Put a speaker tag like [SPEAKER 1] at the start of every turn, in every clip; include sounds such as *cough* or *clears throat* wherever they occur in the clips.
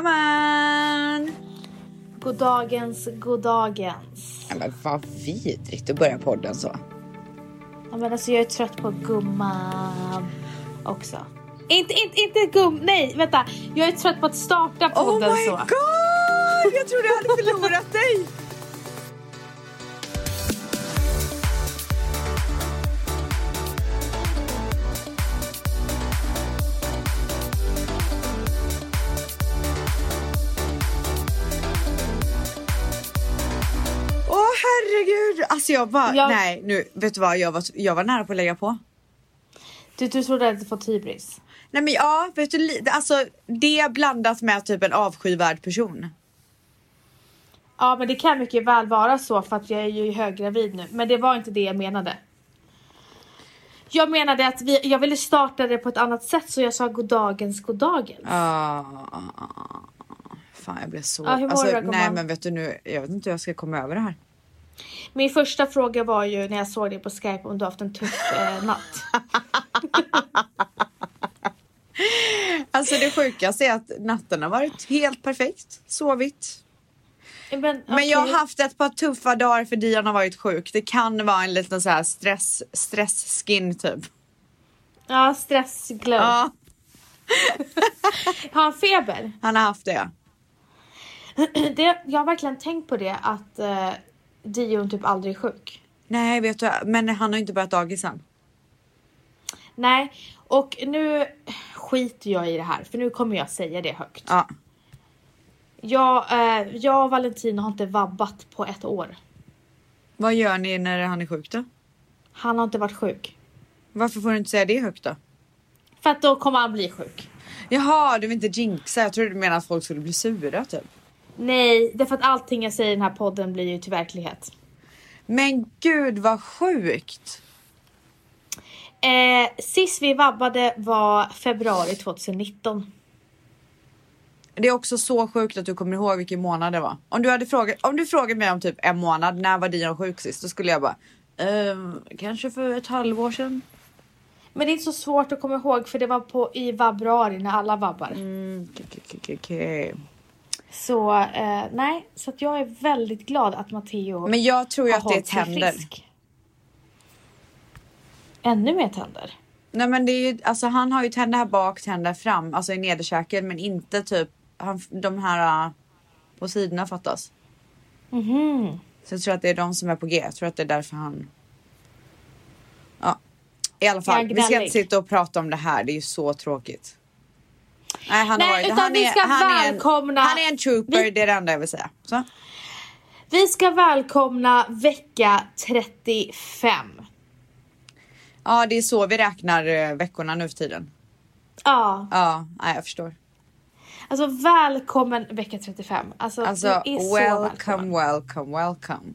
[SPEAKER 1] Gumman!
[SPEAKER 2] Goddagens, goddagens.
[SPEAKER 1] Ja, men vad vidrigt att börja podden så.
[SPEAKER 2] Ja, men alltså jag är trött på gumman också. Inte, inte, inte gum... Nej, vänta. Jag är trött på att starta
[SPEAKER 1] Oh
[SPEAKER 2] podden
[SPEAKER 1] my
[SPEAKER 2] så.
[SPEAKER 1] god! Jag trodde jag hade förlorat dig! Åh herregud! Alltså jag bara,
[SPEAKER 2] Jag-
[SPEAKER 1] nej nu, vet du vad, jag var, jag var nära på att lägga på.
[SPEAKER 2] Du, du trodde jag hade fått hybris.
[SPEAKER 1] Nej men ja, vet du, li- alltså det blandat med typ en avskyvärd person.
[SPEAKER 2] Ja, men det kan mycket väl vara så för att jag är ju höggravid nu. Men det var inte det jag menade. Jag menade att vi, jag ville starta det på ett annat sätt så jag sa goddagens, goddagens.
[SPEAKER 1] Ah, fan jag blev så...
[SPEAKER 2] Ja, hur mår
[SPEAKER 1] alltså,
[SPEAKER 2] du då,
[SPEAKER 1] nej
[SPEAKER 2] gumman?
[SPEAKER 1] men vet du nu, jag vet inte hur jag ska komma över det här.
[SPEAKER 2] Min första fråga var ju när jag såg dig på Skype om du haft en tuff eh, natt.
[SPEAKER 1] Alltså det sjukaste är att natten har varit helt perfekt, sovit.
[SPEAKER 2] Men,
[SPEAKER 1] Men jag
[SPEAKER 2] okej.
[SPEAKER 1] har haft ett par tuffa dagar för Dion har varit sjuk. Det kan vara en liten så här stress, stress skin typ.
[SPEAKER 2] Ja, stressglöd.
[SPEAKER 1] Ja,
[SPEAKER 2] Har han feber?
[SPEAKER 1] han har haft det.
[SPEAKER 2] *clears throat* Det, jag har verkligen tänkt på det att eh, Dion typ aldrig är sjuk.
[SPEAKER 1] Nej vet du, men han har inte börjat dagis än.
[SPEAKER 2] Nej, och nu skiter jag i det här för nu kommer jag säga det högt.
[SPEAKER 1] Ja.
[SPEAKER 2] Jag, eh, jag och Valentino har inte vabbat på ett år.
[SPEAKER 1] Vad gör ni när han är sjuk då?
[SPEAKER 2] Han har inte varit sjuk.
[SPEAKER 1] Varför får du inte säga det högt då?
[SPEAKER 2] För att då kommer han bli sjuk.
[SPEAKER 1] Jaha, du vill inte jinxa. Jag trodde du menade att folk skulle bli sura typ.
[SPEAKER 2] Nej, därför att allting jag säger i den här podden blir ju till verklighet.
[SPEAKER 1] Men gud vad sjukt.
[SPEAKER 2] Eh, sist vi vabbade var februari 2019.
[SPEAKER 1] Det är också så sjukt att du kommer ihåg vilken månad det var. Om du hade frågat, om du frågat mig om typ en månad, när var Dion sjuk sist? Då skulle jag bara, ehm, kanske för ett halvår sedan.
[SPEAKER 2] Men det är inte så svårt att komma ihåg för det var på, i vabbraari när alla vabbar.
[SPEAKER 1] Mm, k- k- k- k- k.
[SPEAKER 2] Så eh, nej, så att jag är väldigt glad att Matteo
[SPEAKER 1] Men jag tror ju
[SPEAKER 2] har
[SPEAKER 1] att det
[SPEAKER 2] hållit sig
[SPEAKER 1] tänder.
[SPEAKER 2] frisk. Ännu mer tänder.
[SPEAKER 1] Nej men det är ju, alltså han har ju tänder här bak, tänder fram, alltså i nederkäken men inte typ han, de här äh, på sidorna fattas.
[SPEAKER 2] Mhm.
[SPEAKER 1] Så jag tror att det är de som är på G. Jag tror att det är därför han. Ja, i alla fall.
[SPEAKER 2] Ja,
[SPEAKER 1] Vi ska
[SPEAKER 2] gnällig.
[SPEAKER 1] inte sitta och prata om det här. Det är ju så tråkigt. Nej, han,
[SPEAKER 2] Nej,
[SPEAKER 1] har varit,
[SPEAKER 2] utan
[SPEAKER 1] han,
[SPEAKER 2] vi
[SPEAKER 1] är,
[SPEAKER 2] ska
[SPEAKER 1] han, är en,
[SPEAKER 2] välkomna-
[SPEAKER 1] han är en trooper,
[SPEAKER 2] Vi-
[SPEAKER 1] det är det enda jag vill säga. Så.
[SPEAKER 2] Vi ska välkomna vecka 35.
[SPEAKER 1] Ja, det är så vi räknar eh, veckorna nu för tiden.
[SPEAKER 2] Ja,
[SPEAKER 1] Ja, nej, jag förstår.
[SPEAKER 2] alltså välkommen vecka 35. Alltså,
[SPEAKER 1] Alltså,
[SPEAKER 2] du är så välkommen.
[SPEAKER 1] welcome, welcome, welcome.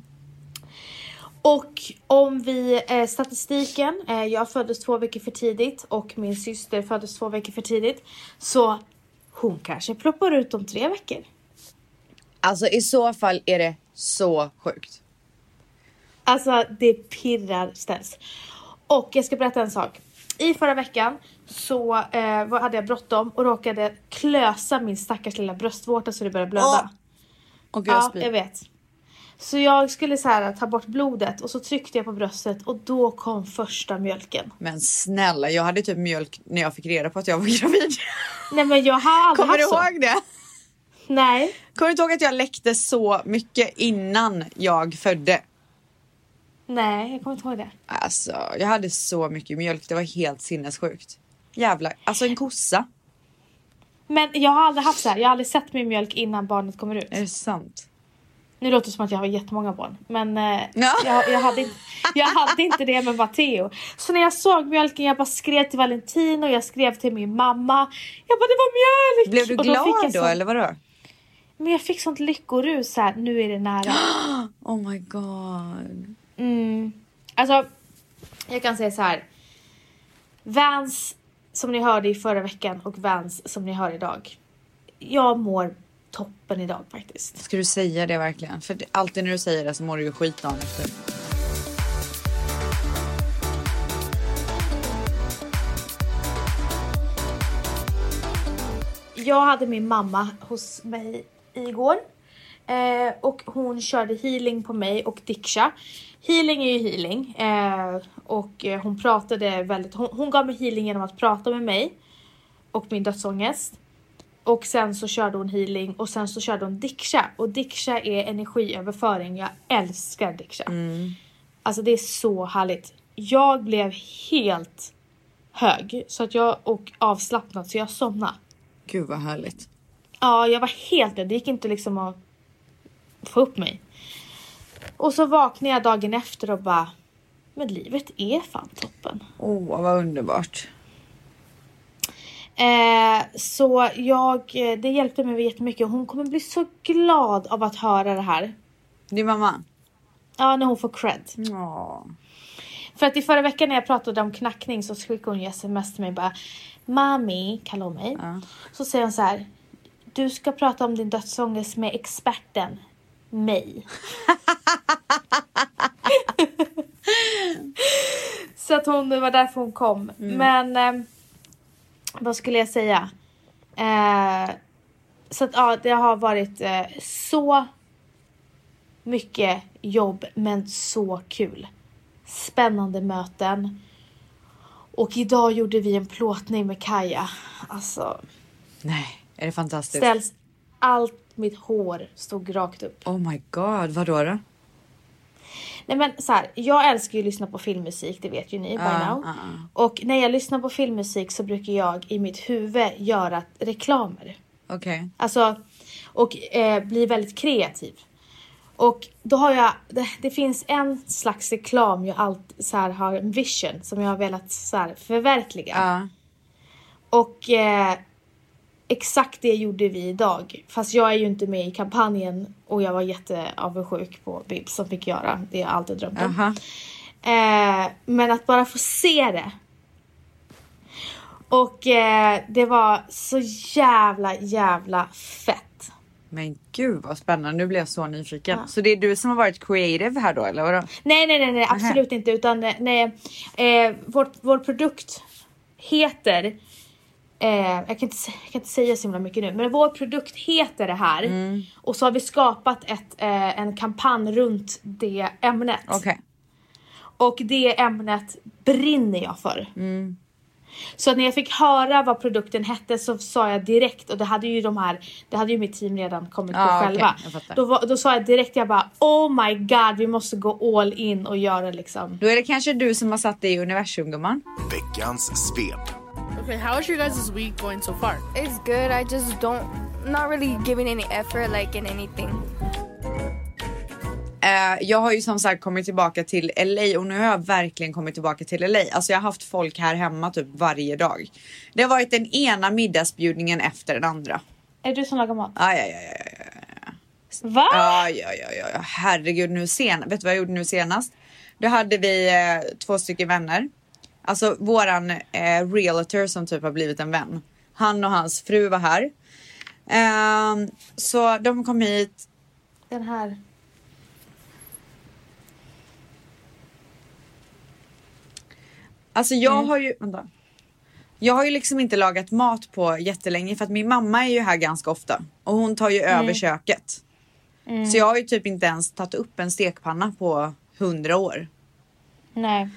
[SPEAKER 2] Och om vi, eh, statistiken, eh, jag föddes två veckor för tidigt och min syster föddes två veckor för tidigt. Så hon kanske ploppar ut om tre veckor.
[SPEAKER 1] Alltså i så fall är det så sjukt.
[SPEAKER 2] Alltså det pirrar ställs. Och jag ska berätta en sak. I förra veckan så eh, var- hade jag bråttom och råkade klösa min stackars lilla bröstvårta så det började blöda.
[SPEAKER 1] Åh, Och jag
[SPEAKER 2] ja,
[SPEAKER 1] spyr.
[SPEAKER 2] jag vet. Så jag skulle så här, ta bort blodet och så tryckte jag på bröstet och då kom första mjölken.
[SPEAKER 1] Men snälla, jag hade typ mjölk när jag fick reda på att jag var *laughs* gravid.
[SPEAKER 2] Nej men alltså, jag har aldrig
[SPEAKER 1] Kommer du
[SPEAKER 2] haft så.
[SPEAKER 1] ihåg det?
[SPEAKER 2] Nej.
[SPEAKER 1] Kommer du inte ihåg att jag läckte så mycket innan jag födde?
[SPEAKER 2] Nej, jag kommer inte ihåg det.
[SPEAKER 1] Alltså, jag hade så mycket mjölk. Det var helt sinnessjukt. Jävlar, alltså en kossa.
[SPEAKER 2] Men jag har aldrig haft så här. Jag har aldrig sett min mjölk innan barnet kommer ut.
[SPEAKER 1] Är det sant?
[SPEAKER 2] Nu låter det som att jag har jättemånga barn, men eh,
[SPEAKER 1] Ja.
[SPEAKER 2] jag, jag, hade, inte- jag hade inte det med Matteo. Så när jag såg mjölken, jag bara skrev till Valentino, jag skrev till min mamma. Jag bara, det var mjölk!
[SPEAKER 1] Blev du
[SPEAKER 2] Och fick jag
[SPEAKER 1] glad då
[SPEAKER 2] sån-
[SPEAKER 1] eller vadå?
[SPEAKER 2] Men jag fick sånt lyckorus så här, nu är det nära.
[SPEAKER 1] Oh my god.
[SPEAKER 2] Mm. Alltså, jag kan säga så här. Vans som ni hörde i förra veckan och Vans som ni hör idag. Jag mår toppen idag faktiskt.
[SPEAKER 1] Ska du säga det verkligen? För det- alltid när du säger det så mår du ju skit dagen efter.
[SPEAKER 2] jag hade min mamma hos mig igår. Eh, och hon körde healing på mig och Diksha. Healing är ju healing. Eh, och eh, hon pratade väldigt, hon, hon gav mig healing genom att prata med mig. Och min dödsångest. Och sen så körde hon healing och sen så körde hon Diksha. Och Diksha är energiöverföring. Jag älskar Diksha. Alltså det är så härligt. Jag blev helt hög så att jag, och avslappnad så jag somnade.
[SPEAKER 1] Gud vad härligt.
[SPEAKER 2] Ja, jag var helt död. Det gick inte liksom att få upp mig. Och så vaknade jag dagen efter och bara, men livet är fan toppen.
[SPEAKER 1] Åh, oh, vad underbart.
[SPEAKER 2] Eh, så jag, eh, det hjälpte mig jättemycket. Hon kommer bli så glad av att höra det här.
[SPEAKER 1] Din mamma?
[SPEAKER 2] Ja, när hon får cred.
[SPEAKER 1] Ja.
[SPEAKER 2] För att i förra veckan när jag pratade om knackning så skickade hon ju sms till mig bara Mami, kallar hon mig.
[SPEAKER 1] Ja.
[SPEAKER 2] Så säger hon så här. Du ska prata om din dödsångest med experten, mig. så att hon, det var därför hon kom. Men ehm, vad skulle jag säga? Eh, så att ja, det har varit eh, så mycket jobb men så kul. Spännande möten. Och idag gjorde vi en plåtning med Kaja. Alltså,
[SPEAKER 1] Nej, är det fantastiskt?
[SPEAKER 2] ställs allt mitt hår stod rakt upp.
[SPEAKER 1] Oh my god, vad då? då?
[SPEAKER 2] Nej men så här, jag älskar ju att lyssna på filmmusik, det vet ju ni by
[SPEAKER 1] Ja,
[SPEAKER 2] now.
[SPEAKER 1] ja, ja.
[SPEAKER 2] Och när jag lyssnar på filmmusik så brukar jag i mitt huvud göra reklamer.
[SPEAKER 1] Okej.
[SPEAKER 2] Alltså, och eh, bli väldigt kreativ. Och då har jag, det, det finns en slags reklam jag alltid så här, har en vision som jag har velat så här, förverkliga.
[SPEAKER 1] Ja.
[SPEAKER 2] Och eh, exakt det gjorde vi idag. Fast jag är ju inte med i kampanjen och jag var jätteavundsjuk på Bibs som fick göra det jag alltid drömt om.
[SPEAKER 1] Aha.
[SPEAKER 2] Eh, men att bara få se det. Och eh, det var så jävla, jävla fett.
[SPEAKER 1] Men gud vad spännande, nu blev jag så nyfiken. Så det är du som har varit creative här då eller vadå?
[SPEAKER 2] Nej, nej, nej, nej absolut inte. Utan eh, nej, eh, vår, vår produkt heter... Eh, jag, kan inte, sä- jag kan inte säga så himla mycket nu, men vår produkt heter det här. Och så har vi skapat ett, eh, en kampanj runt det ämnet.
[SPEAKER 1] Okej.
[SPEAKER 2] Och det ämnet brinner jag för.
[SPEAKER 1] Mm.
[SPEAKER 2] Så att när jag fick höra vad produkten hette så sa jag direkt, och det hade ju de här, det hade ju mitt team redan kommit
[SPEAKER 1] Ja,
[SPEAKER 2] på
[SPEAKER 1] Ah, okej,
[SPEAKER 2] själva.
[SPEAKER 1] jag fattar.
[SPEAKER 2] då, var- då sa jag direkt, jag bara oh my god vi måste gå all in och göra liksom.
[SPEAKER 1] Då är det kanske du som har satt dig i universum gumman.
[SPEAKER 3] Veckans svep.
[SPEAKER 4] Okay, how is your guys' week going so far?
[SPEAKER 5] It's good. I just don't, not really giving any effort like in anything.
[SPEAKER 1] Eh, jag har ju som sagt kommit tillbaka till LA och nu har jag verkligen kommit tillbaka till LA. Alltså jag har haft folk här hemma typ varje dag. Det har varit den ena middagsbjudningen efter den andra.
[SPEAKER 2] Är det du som lagar mat?
[SPEAKER 1] Aj, aj, aj, aj.
[SPEAKER 2] Va?
[SPEAKER 1] Aj, aj, aj, aj. Herregud, nu sen. Vet du vad jag gjorde nu senast? Då hade vi eh, två stycken vänner. Alltså våran eh, realtor som typ har blivit en vän. Han och hans fru var här. Ehm, så de kom hit.
[SPEAKER 2] Den här.
[SPEAKER 1] Alltså jag har ju... Vänta. Jag har ju liksom inte lagat mat på jättelänge för att min mamma är ju här ganska ofta. Och hon tar ju över köket. Så jag har ju typ inte ens tagit upp en stekpanna på hundra år.
[SPEAKER 2] Nej.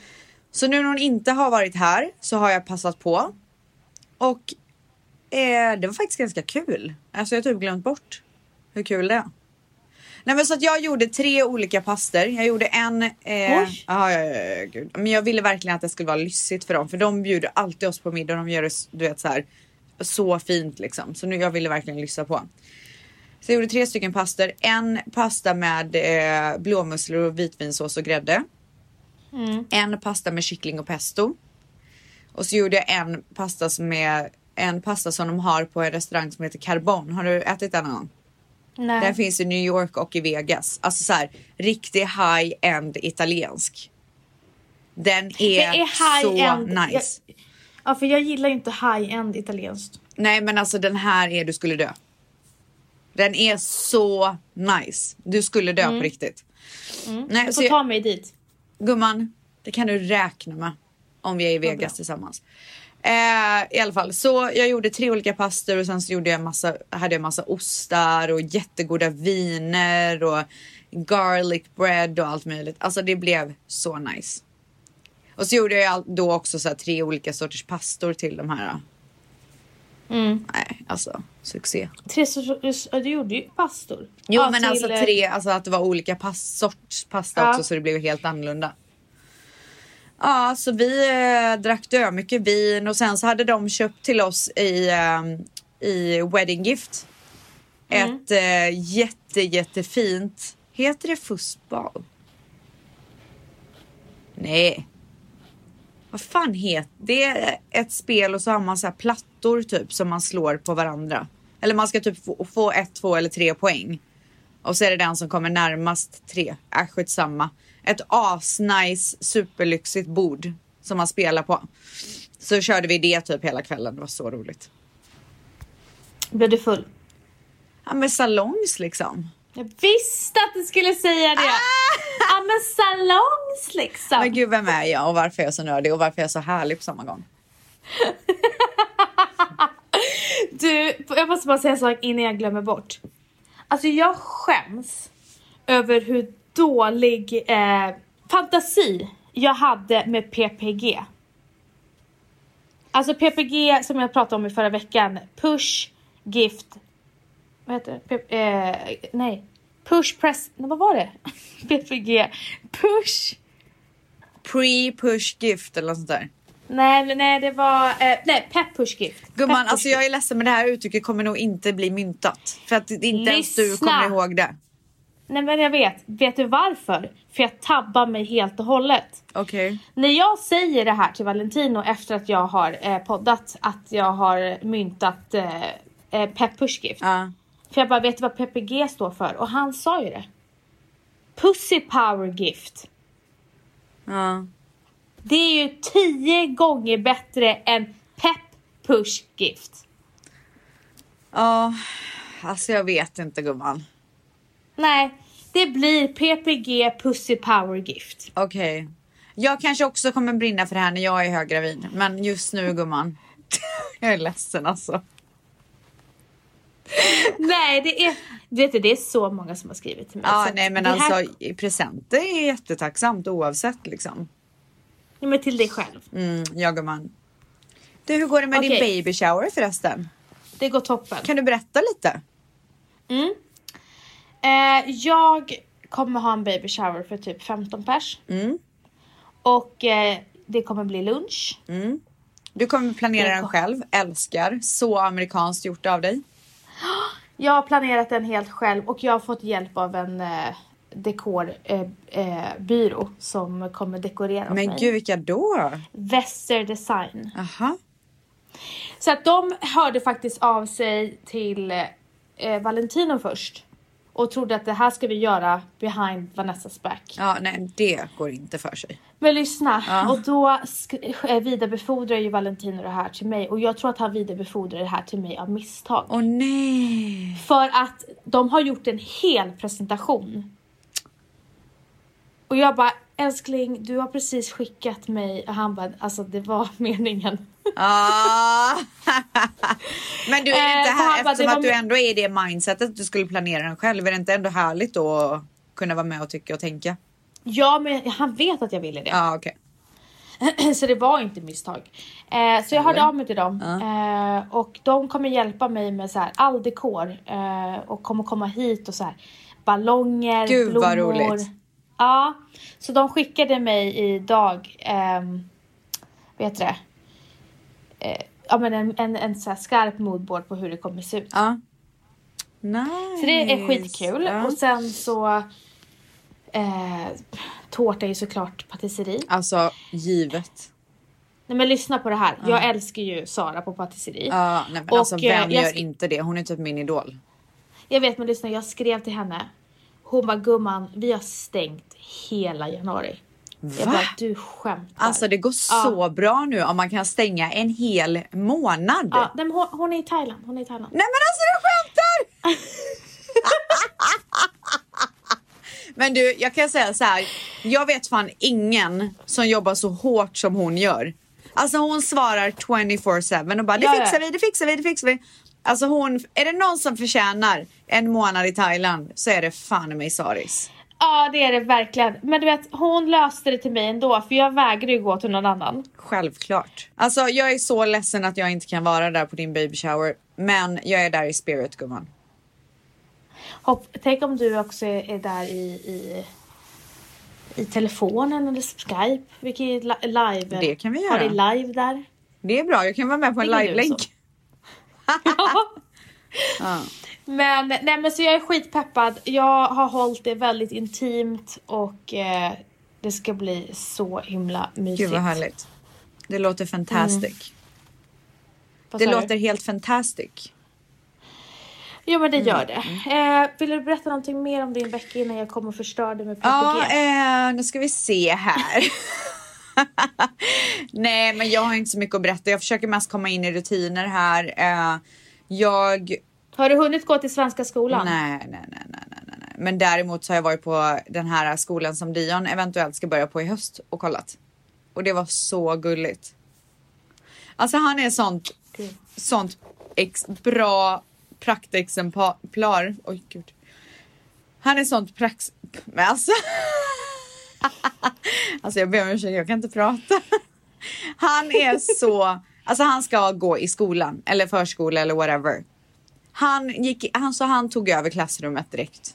[SPEAKER 1] Så nu när hon inte har varit här så har jag passat på. Och eh, det var faktiskt ganska kul. Alltså jag har typ glömt bort hur kul det är. Nej men så att jag gjorde tre olika pastor. Jag gjorde en... Eh,
[SPEAKER 2] Oj.
[SPEAKER 1] Ja, ja, ja, ja, gud. Men jag ville verkligen att det skulle vara lyssigt för dem. För de bjuder alltid oss på middag. De gör det s- du vet, så, här, så fint liksom. Så nu, jag ville verkligen lyssna på. Så jag gjorde tre stycken pastor. En pasta med eh, blåmusslor och vitvinsås och grädde en pasta med kyckling och pesto. Och så gjorde jag en pasta som är en pasta som de har på en restaurang som heter Carbon. Har du ätit den någon gång?
[SPEAKER 2] Nej.
[SPEAKER 1] Den finns i New York och i Vegas. Alltså så här riktig high-end italiensk. Den är, så nice.
[SPEAKER 2] Jag, ja för jag gillar ju inte high-end italienskt.
[SPEAKER 1] Nej men alltså den här är du skulle dö. Den är så nice. Du skulle dö på riktigt. Nej,
[SPEAKER 2] Mm.
[SPEAKER 1] så
[SPEAKER 2] Du får
[SPEAKER 1] jag-
[SPEAKER 2] ta mig dit.
[SPEAKER 1] Gumman, det kan du räkna med om vi är i Vegas tillsammans. Eh, I alla fall, så jag gjorde tre olika pastor och sen så gjorde jag massa, hade jag massa ostar och jättegoda viner och garlic bread och allt möjligt. Alltså det blev så nice. Och så gjorde jag ju all- då också så här tre olika sorters pastor till de här. då.
[SPEAKER 2] Mm.
[SPEAKER 1] Nej, alltså succé.
[SPEAKER 2] Tre sorters, ja, du gjorde ju pastor.
[SPEAKER 1] Jo
[SPEAKER 2] Ja,
[SPEAKER 1] men
[SPEAKER 2] till,
[SPEAKER 1] alltså
[SPEAKER 2] eh,
[SPEAKER 1] tre, alltså att det var olika pass, sorts pasta
[SPEAKER 2] Ja.
[SPEAKER 1] också så det blev helt annorlunda. Ja, så vi eh, drack dö mycket vin och sen så hade de köpt till oss i, eh, i wedding gift
[SPEAKER 2] Mm.
[SPEAKER 1] ett eh, jätte jättefint, heter det fussball? Nej. Vad fan heter det? är ett spel och så har man så här plattor typ som man slår på varandra. Eller man ska typ få, få ett, två eller tre poäng. Och så är det den som kommer närmast tre. Äh, skitsamma. Ett asnice superlyxigt bord som man spelar på. Så körde vi det typ hela kvällen. Det var så roligt.
[SPEAKER 2] Blev du full?
[SPEAKER 1] Ja men salongs liksom.
[SPEAKER 2] Jag visste att du skulle säga det! Ja men salongs liksom!
[SPEAKER 1] Ah! Men gud vem är jag och varför är jag så nördig och varför är jag så härlig på samma gång?
[SPEAKER 2] Du, jag måste bara säga en sak innan jag glömmer bort. Alltså jag skäms över hur dålig eh, fantasi jag hade med PPG. Alltså PPG som jag pratade om i förra veckan. Push, gift, vad heter det? P- eh, nej. Push, press, nej, vad var det? *laughs* PPG. Push.
[SPEAKER 1] Pre-push gift eller något sånt där.
[SPEAKER 2] Nej, nej det var, eh, nej, pep push gift.
[SPEAKER 1] Gumman,
[SPEAKER 2] Pep push
[SPEAKER 1] alltså jag är ledsen men det här uttrycket kommer nog inte bli myntat. För att det- inte ens du
[SPEAKER 2] Lyssna.
[SPEAKER 1] kommer ihåg det.
[SPEAKER 2] Nej men jag vet. Vet du varför? För jag tabbar mig helt och hållet.
[SPEAKER 1] Okej.
[SPEAKER 2] När jag säger det här till Valentino efter att jag har eh, poddat att jag har myntat eh, eh, Pep Pushgift.
[SPEAKER 1] Ja.
[SPEAKER 2] För jag bara, vet du vad PPG står för? Och han sa ju det. Pussy Power Gift.
[SPEAKER 1] Ja.
[SPEAKER 2] Det är ju tio gånger bättre än Pep Push Gift.
[SPEAKER 1] Ja. Alltså jag vet inte gumman.
[SPEAKER 2] Nej, det blir PPG Pussy Power Gift.
[SPEAKER 1] Okej. Jag kanske också kommer brinna för det här när jag är höggravid. Men just nu gumman. *laughs* jag är ledsen alltså.
[SPEAKER 2] Nej, det är... Vet du, det är så många som har skrivit till mig.
[SPEAKER 1] Ja,
[SPEAKER 2] Så att
[SPEAKER 1] nej men
[SPEAKER 2] det här-
[SPEAKER 1] alltså i presenter är jättetacksamt oavsett liksom.
[SPEAKER 2] Nej, men till dig själv.
[SPEAKER 1] Mm, ja gumman. Du hur går det med din
[SPEAKER 2] Okej.
[SPEAKER 1] baby shower förresten?
[SPEAKER 2] Det går toppen.
[SPEAKER 1] Kan du berätta lite?
[SPEAKER 2] Mm. Eh, jag kommer ha en baby shower för typ 15 pers.
[SPEAKER 1] Mm.
[SPEAKER 2] Och eh, det kommer bli lunch.
[SPEAKER 1] Mm. Du kommer planera den själv, älskar. Så amerikanskt gjort av dig.
[SPEAKER 2] Jag har planerat den helt själv och jag har fått hjälp av en eh, dekorbyrå eh, byrå som kommer dekorera åt
[SPEAKER 1] Men
[SPEAKER 2] mig.
[SPEAKER 1] gud vilka då?
[SPEAKER 2] Väster Design.
[SPEAKER 1] Aha.
[SPEAKER 2] Så att de hörde faktiskt av sig till eh, Valentino först. Och trodde att det här ska vi göra behind Vanessas back.
[SPEAKER 1] Ja, nej det går inte för sig.
[SPEAKER 2] Men lyssna,
[SPEAKER 1] Ja.
[SPEAKER 2] och då sk- eh, vidarebefordrar ju Valentino det här till mig och jag tror att han vidarebefordrar det här till mig av misstag.
[SPEAKER 1] Åh nej.
[SPEAKER 2] För att de har gjort en hel presentation. Och jag bara, älskling du har precis skickat mig och han bara, alltså det var *laughs* meningen.
[SPEAKER 1] Ah. *laughs* Men du är det
[SPEAKER 2] Eh,
[SPEAKER 1] inte
[SPEAKER 2] så
[SPEAKER 1] här,
[SPEAKER 2] han bara,
[SPEAKER 1] eftersom
[SPEAKER 2] det var
[SPEAKER 1] att du
[SPEAKER 2] min-
[SPEAKER 1] ändå är i det mindsetet att du skulle planera den själv. Är det inte ändå härligt då att kunna vara med och tycka och tänka?
[SPEAKER 2] Ja men han vet att jag ville det.
[SPEAKER 1] Ja ah, okej.
[SPEAKER 2] *clears throat* så det var inte misstag. Eh, så jag hörde av mig till dem eh, och de kommer hjälpa mig med så här, all dekor eh, och kommer komma hit och så här ballonger,
[SPEAKER 1] Gud,
[SPEAKER 2] blommor.
[SPEAKER 1] vad roligt.
[SPEAKER 2] Ja, så de skickade mig idag, ehm, vad heter det? Eh, ja men en, en, en så här skarp moodboard på hur det kommer se ut.
[SPEAKER 1] Ja. Nice.
[SPEAKER 2] Så det är skitkul
[SPEAKER 1] Ja.
[SPEAKER 2] och sen så eh, tårta är ju såklart patisserie.
[SPEAKER 1] Alltså givet.
[SPEAKER 2] Nej men lyssna på det här. Jag älskar ju Sara på patisserie.
[SPEAKER 1] Ja, nej, men
[SPEAKER 2] Och,
[SPEAKER 1] alltså
[SPEAKER 2] eh,
[SPEAKER 1] vem
[SPEAKER 2] jag
[SPEAKER 1] gör
[SPEAKER 2] sk-
[SPEAKER 1] inte det? Hon är typ min idol.
[SPEAKER 2] Jag vet men lyssna, jag skrev till henne. Hon bara gumman, vi har stängt hela januari. Jag
[SPEAKER 1] Va?
[SPEAKER 2] bara du skämtar.
[SPEAKER 1] Alltså det går så bra nu om man kan stänga en hel månad.
[SPEAKER 2] ja, nej, men hon, hon är i Thailand, hon är i Thailand.
[SPEAKER 1] Nej men alltså du skämtar! *laughs* men du, jag kan säga så här. Jag vet fan ingen som jobbar så hårt som hon gör. Alltså hon svarar 24-7 och bara det
[SPEAKER 2] Ja, ja.
[SPEAKER 1] fixar vi, det fixar vi, det fixar vi. Alltså hon, är det någon som förtjänar en månad i Thailand så är det fan i mig Saris.
[SPEAKER 2] Ja det är det verkligen. Men du vet hon löste det till mig ändå för jag vägrar ju gå till någon annan.
[SPEAKER 1] Självklart. Alltså jag är så ledsen att jag inte kan vara där på din baby shower. Men jag är där i spirit gumman.
[SPEAKER 2] Hopp, tänk om du också är, är där i, i, i telefonen eller Skype. Vilket är li- live.
[SPEAKER 1] Det kan vi
[SPEAKER 2] Har
[SPEAKER 1] göra.
[SPEAKER 2] det live där.
[SPEAKER 1] Det är bra, jag kan vara med på en
[SPEAKER 2] Det kan du
[SPEAKER 1] live-länk.
[SPEAKER 2] också. Men, nej, men så jag är skitpeppad. Jag har hållit det väldigt intimt och eh, det ska bli så himla mysigt.
[SPEAKER 1] Gud vad härligt. Det låter fantastic.
[SPEAKER 2] Vad
[SPEAKER 1] Det
[SPEAKER 2] sa du?
[SPEAKER 1] låter helt fantastic.
[SPEAKER 2] Jo men det gör
[SPEAKER 1] Mm.
[SPEAKER 2] det. Eh, vill du berätta någonting mer om din vecka innan jag kommer och förstör det med PPG?
[SPEAKER 1] Ja, eh, nu ska vi se här. *laughs* Nej, men jag har inte så mycket att berätta. Jag försöker mest komma in i rutiner här. Eh, jag
[SPEAKER 2] Har du hunnit gå till Svenska skolan?
[SPEAKER 1] eh- Nej, nej, nej, nej, nej, nej, nej. Men däremot så har jag varit på den här skolan som Dion eventuellt ska börja på i höst och kollat. Och det var så gulligt. Alltså han är sånt, sånt ex, bra praktexemplar. Oj gud. Han är sånt prax... Men alltså. *laughs* alltså jag ber om ursäkt, jag kan inte prata. *laughs* Han är så... Alltså han ska gå i skolan eller förskola eller whatever. Han, gick, han, så han tog över klassrummet direkt.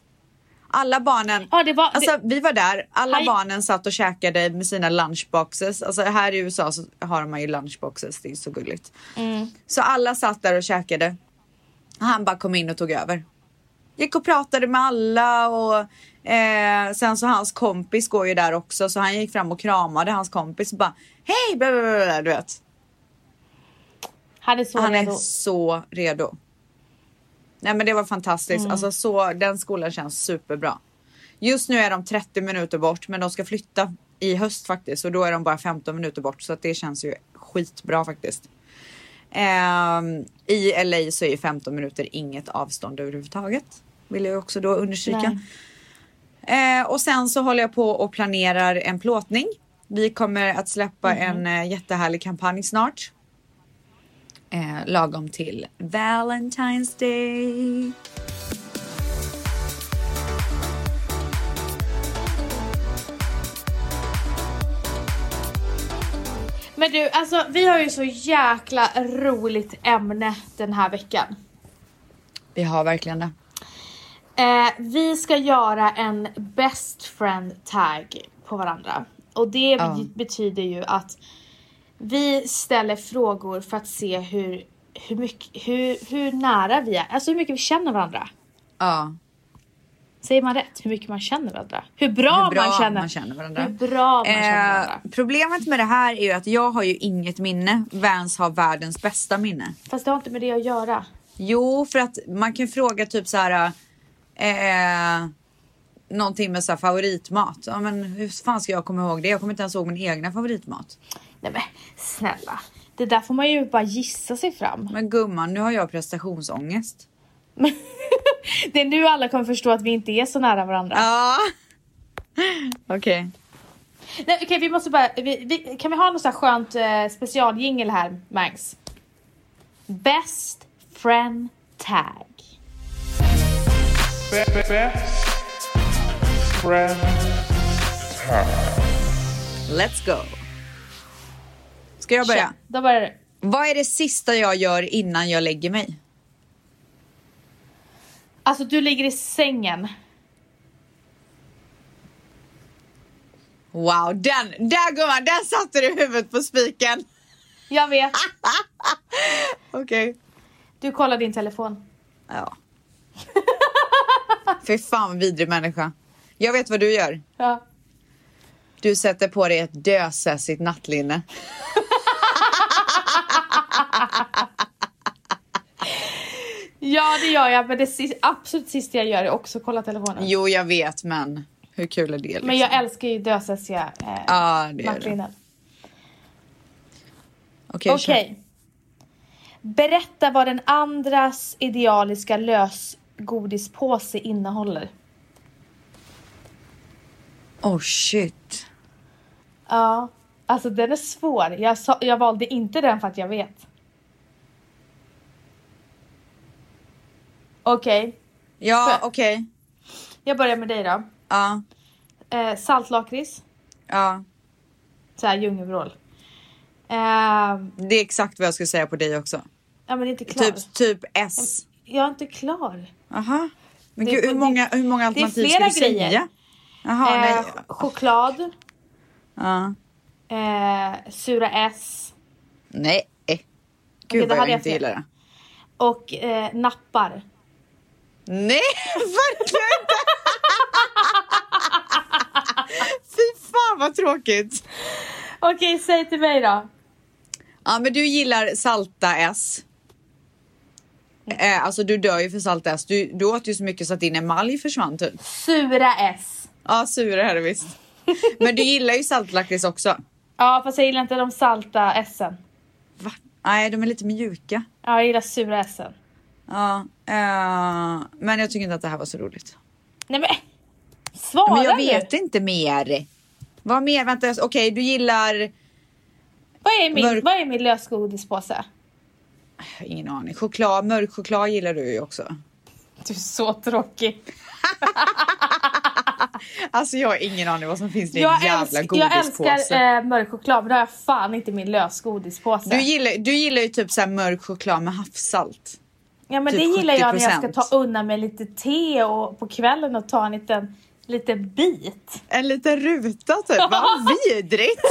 [SPEAKER 1] Alla barnen,
[SPEAKER 2] Ja, det var-
[SPEAKER 1] alltså vi var där, alla
[SPEAKER 2] Han-
[SPEAKER 1] barnen satt och käkade med sina lunchboxes. Alltså här i USA så har man ju lunchboxes, det är så gulligt. Så alla satt där och käkade. Han bara kom in och tog över. Gick och pratade med alla och eh, sen så hans kompis går ju där också så han gick fram och kramade hans kompis och bara hej bla, bla, bla, bla, du vet.
[SPEAKER 2] Han är så
[SPEAKER 1] Han är
[SPEAKER 2] redo.
[SPEAKER 1] så redo. Nej men det var fantastiskt.
[SPEAKER 2] Mm.
[SPEAKER 1] Alltså så, den skolan känns superbra. Just nu är de 30 minuter bort men de ska flytta i höst faktiskt och då är de bara 15 minuter bort så att det känns ju skitbra faktiskt. Ehm, I LA så är ju 15 minuter inget avstånd överhuvudtaget. Vill jag också då understryka. Eh, och sen så håller jag på och planerar en plåtning. Vi kommer att släppa
[SPEAKER 2] Mhm.
[SPEAKER 1] en eh, jättehärlig kampanj snart eh, lagom till Valentine's Day.
[SPEAKER 2] Men du, alltså vi har ju så jäkla roligt ämne den här veckan.
[SPEAKER 1] Vi har verkligen det.
[SPEAKER 2] Eh, vi ska göra en best friend tag på varandra. Och det
[SPEAKER 1] Ja.
[SPEAKER 2] bet- betyder ju att vi ställer frågor för att se hur, hur, mycket, hur, hur nära vi är. Alltså hur mycket vi känner varandra.
[SPEAKER 1] Ja,
[SPEAKER 2] Säger man rätt? Hur mycket man känner varandra? Hur bra,
[SPEAKER 1] hur bra
[SPEAKER 2] man, känner.
[SPEAKER 1] man känner varandra.
[SPEAKER 2] Hur bra man känner varandra.
[SPEAKER 1] Eh, problemet med det här är ju att jag har ju inget minne. Vans har världens bästa minne.
[SPEAKER 2] Fast det har inte med det att göra.
[SPEAKER 1] Jo, för att man kan fråga typ så här. Eh, någonting med så här favoritmat. Ja, men hur fan ska jag komma ihåg det? Jag kommer inte ens ihåg min egna favoritmat.
[SPEAKER 2] Nej men snälla. Det där får man ju bara gissa sig fram. *laughs*
[SPEAKER 1] Men gumman, nu har jag prestationsångest.
[SPEAKER 2] Det är nu alla kommer förstå att vi inte är så nära varandra.
[SPEAKER 1] Ja. *laughs* Okej.
[SPEAKER 2] Nej, okej, vi måste bara... Vi, vi, kan vi ha något så här skönt eh, specialjingel här, Mangs? Best friend tag.
[SPEAKER 6] Best friend.
[SPEAKER 1] Let's go. Ska jag börja?
[SPEAKER 2] Kör, Då börjar du.
[SPEAKER 1] Vad är det sista jag gör innan jag lägger mig?
[SPEAKER 2] Alltså, du ligger i sängen.
[SPEAKER 1] Wow, den, där gumman, där satte du huvudet på spiken.
[SPEAKER 2] Jag vet.
[SPEAKER 1] Ah! Okej.
[SPEAKER 2] Du kollar din telefon.
[SPEAKER 1] Ja. *laughs* Fy fan vad vidrig människa. Jag vet vad du gör.
[SPEAKER 2] Ja.
[SPEAKER 1] Du sätter på dig ett dösässigt nattlinne.
[SPEAKER 2] ja, det gör jag. Men det sist, absolut sista jag gör är också att kolla telefonen.
[SPEAKER 1] Jo, jag vet, men hur kul är det? Liksom?
[SPEAKER 2] Men jag älskar ju dösessiga eh,
[SPEAKER 1] Ja, det gör du.
[SPEAKER 2] nattlinnen.
[SPEAKER 1] Okej, kör.
[SPEAKER 2] Okej. Berätta vad den andras idealiska lösgodispåse innehåller.
[SPEAKER 1] Oh shit.
[SPEAKER 2] Ja. Alltså den är svår. Jag, sa, jag valde inte den för att jag vet. Okej,
[SPEAKER 1] Ja,
[SPEAKER 2] För-
[SPEAKER 1] okej.
[SPEAKER 2] jag börjar med dig då.
[SPEAKER 1] Ja,
[SPEAKER 2] Eh, saltlakrits,
[SPEAKER 1] ja.
[SPEAKER 2] såhär djungelvrål. Ehm,
[SPEAKER 1] Det är exakt vad jag skulle säga på dig också.
[SPEAKER 2] ja men inte klar.
[SPEAKER 1] Typ, typ S.
[SPEAKER 2] Jag är inte klar.
[SPEAKER 1] Aha. Men
[SPEAKER 2] Det-
[SPEAKER 1] gud, hur
[SPEAKER 2] det-
[SPEAKER 1] många, hur många
[SPEAKER 2] det är
[SPEAKER 1] alternativ ska
[SPEAKER 2] flera
[SPEAKER 1] du
[SPEAKER 2] grejer.
[SPEAKER 1] säga? Jaha,
[SPEAKER 2] eh,
[SPEAKER 1] nej.
[SPEAKER 2] choklad,
[SPEAKER 1] Ja.
[SPEAKER 2] eh, sura S
[SPEAKER 1] Nej. Gud
[SPEAKER 2] då
[SPEAKER 1] vad jag
[SPEAKER 2] hade jag
[SPEAKER 1] inte
[SPEAKER 2] fel.
[SPEAKER 1] gillar det.
[SPEAKER 2] och eh, nappar.
[SPEAKER 1] Nej, *laughs* verkligen
[SPEAKER 2] *laughs*
[SPEAKER 1] inte! Fy fan vad tråkigt.
[SPEAKER 2] Okej, säg till mig då.
[SPEAKER 1] Ja, men du gillar salta S. Eh, alltså du dör ju för salta S. Du, du åt ju så mycket så att din emalj försvann typ.
[SPEAKER 2] Sura S.
[SPEAKER 1] Ja, sura är det visst. *laughs* Men du gillar ju saltlakrits också.
[SPEAKER 2] Ja, fast jag gillar inte de salta S'en.
[SPEAKER 1] Va? Nej, de är lite mjuka.
[SPEAKER 2] Ja, jag gillar sura S'en.
[SPEAKER 1] Ja, eh, men jag tycker inte att det här var så roligt.
[SPEAKER 2] Nej men! Svara
[SPEAKER 1] men jag
[SPEAKER 2] nu!
[SPEAKER 1] vet inte mer. Vad mer? Vänta, jag- okej, du gillar...
[SPEAKER 2] Vad är min,
[SPEAKER 1] Mörk-
[SPEAKER 2] vad är min lösgodispåse?
[SPEAKER 1] Ingen aning. Choklad, mörk choklad gillar du ju också.
[SPEAKER 2] Du är så tråkig.
[SPEAKER 1] Alltså jag har ingen aning vad som finns i din
[SPEAKER 2] Jag,
[SPEAKER 1] jävla
[SPEAKER 2] älsk, jag
[SPEAKER 1] godispåse.
[SPEAKER 2] älskar eh, mörk choklad men det har jag fan inte i min lösgodispåse.
[SPEAKER 1] du, gillar, du gillar ju typ så här mörk choklad med havssalt.
[SPEAKER 2] ja men
[SPEAKER 1] typ
[SPEAKER 2] det gillar jag när jag ska
[SPEAKER 1] 70%.
[SPEAKER 2] ta undan mig lite te och, på kvällen och ta en liten, liten bit.
[SPEAKER 1] En liten ruta
[SPEAKER 2] *laughs*
[SPEAKER 1] typ. Vad vidrigt!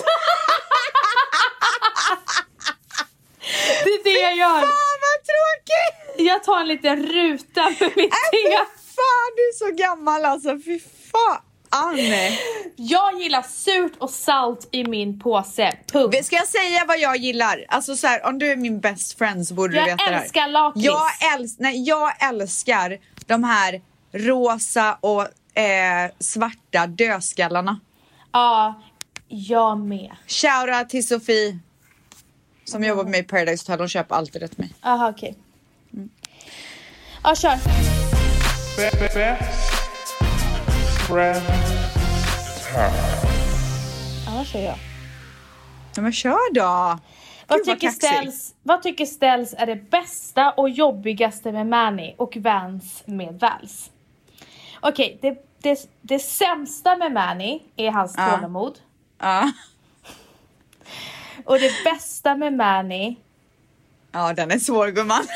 [SPEAKER 2] Det är det jag gör.
[SPEAKER 1] Fan vad tråkigt!
[SPEAKER 2] Jag tar en liten ruta för mitt
[SPEAKER 1] Äh,
[SPEAKER 2] te.
[SPEAKER 1] fy fan du är så gammal alltså. Fy fan!
[SPEAKER 2] Jag gillar surt och salt i min påse. Punkt.
[SPEAKER 1] Ska jag säga vad jag gillar? Alltså så här, om du är min best friend så borde
[SPEAKER 2] Jag
[SPEAKER 1] du veta det här.
[SPEAKER 2] älskar lakrits.
[SPEAKER 1] Jag, älsk, nej, jag älskar de här rosa och eh, svarta dödskallarna.
[SPEAKER 2] Ja, jag med.
[SPEAKER 1] Shoutout till Sofie som jobbar med mig i Paradise Hotel. Hon köper alltid rätt mig.
[SPEAKER 2] Jaha okej. Mm. Ja kör.
[SPEAKER 6] Be- Best friends.
[SPEAKER 2] Ja kör jag.
[SPEAKER 1] Ja, men kör då!
[SPEAKER 2] Vad
[SPEAKER 1] Gud, vad
[SPEAKER 2] tycker,
[SPEAKER 1] kaxig.
[SPEAKER 2] ställs, vad tycker ställs är det bästa och jobbigaste med Manny och Vans med Vals? Okej, det, det, det sämsta med Manny är hans
[SPEAKER 1] Ja.
[SPEAKER 2] tålamod.
[SPEAKER 1] Ja.
[SPEAKER 2] Och det bästa med Manny
[SPEAKER 1] ja, den är svår gumman.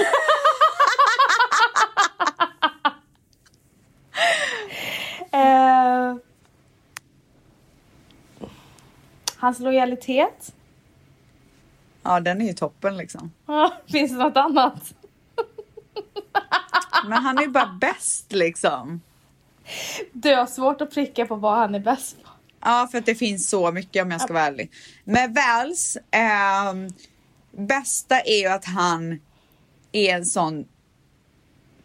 [SPEAKER 2] Eh, hans lojalitet.
[SPEAKER 1] Ja, den är ju toppen liksom.
[SPEAKER 2] Ah, *laughs* Finns det något annat?
[SPEAKER 1] Men han är ju bara bäst liksom.
[SPEAKER 2] Du har svårt att pricka på vad han är bäst på.
[SPEAKER 1] Ja, för att det finns så mycket om jag ska vara ärlig. Men Vals ehm, bästa är ju att han är en sån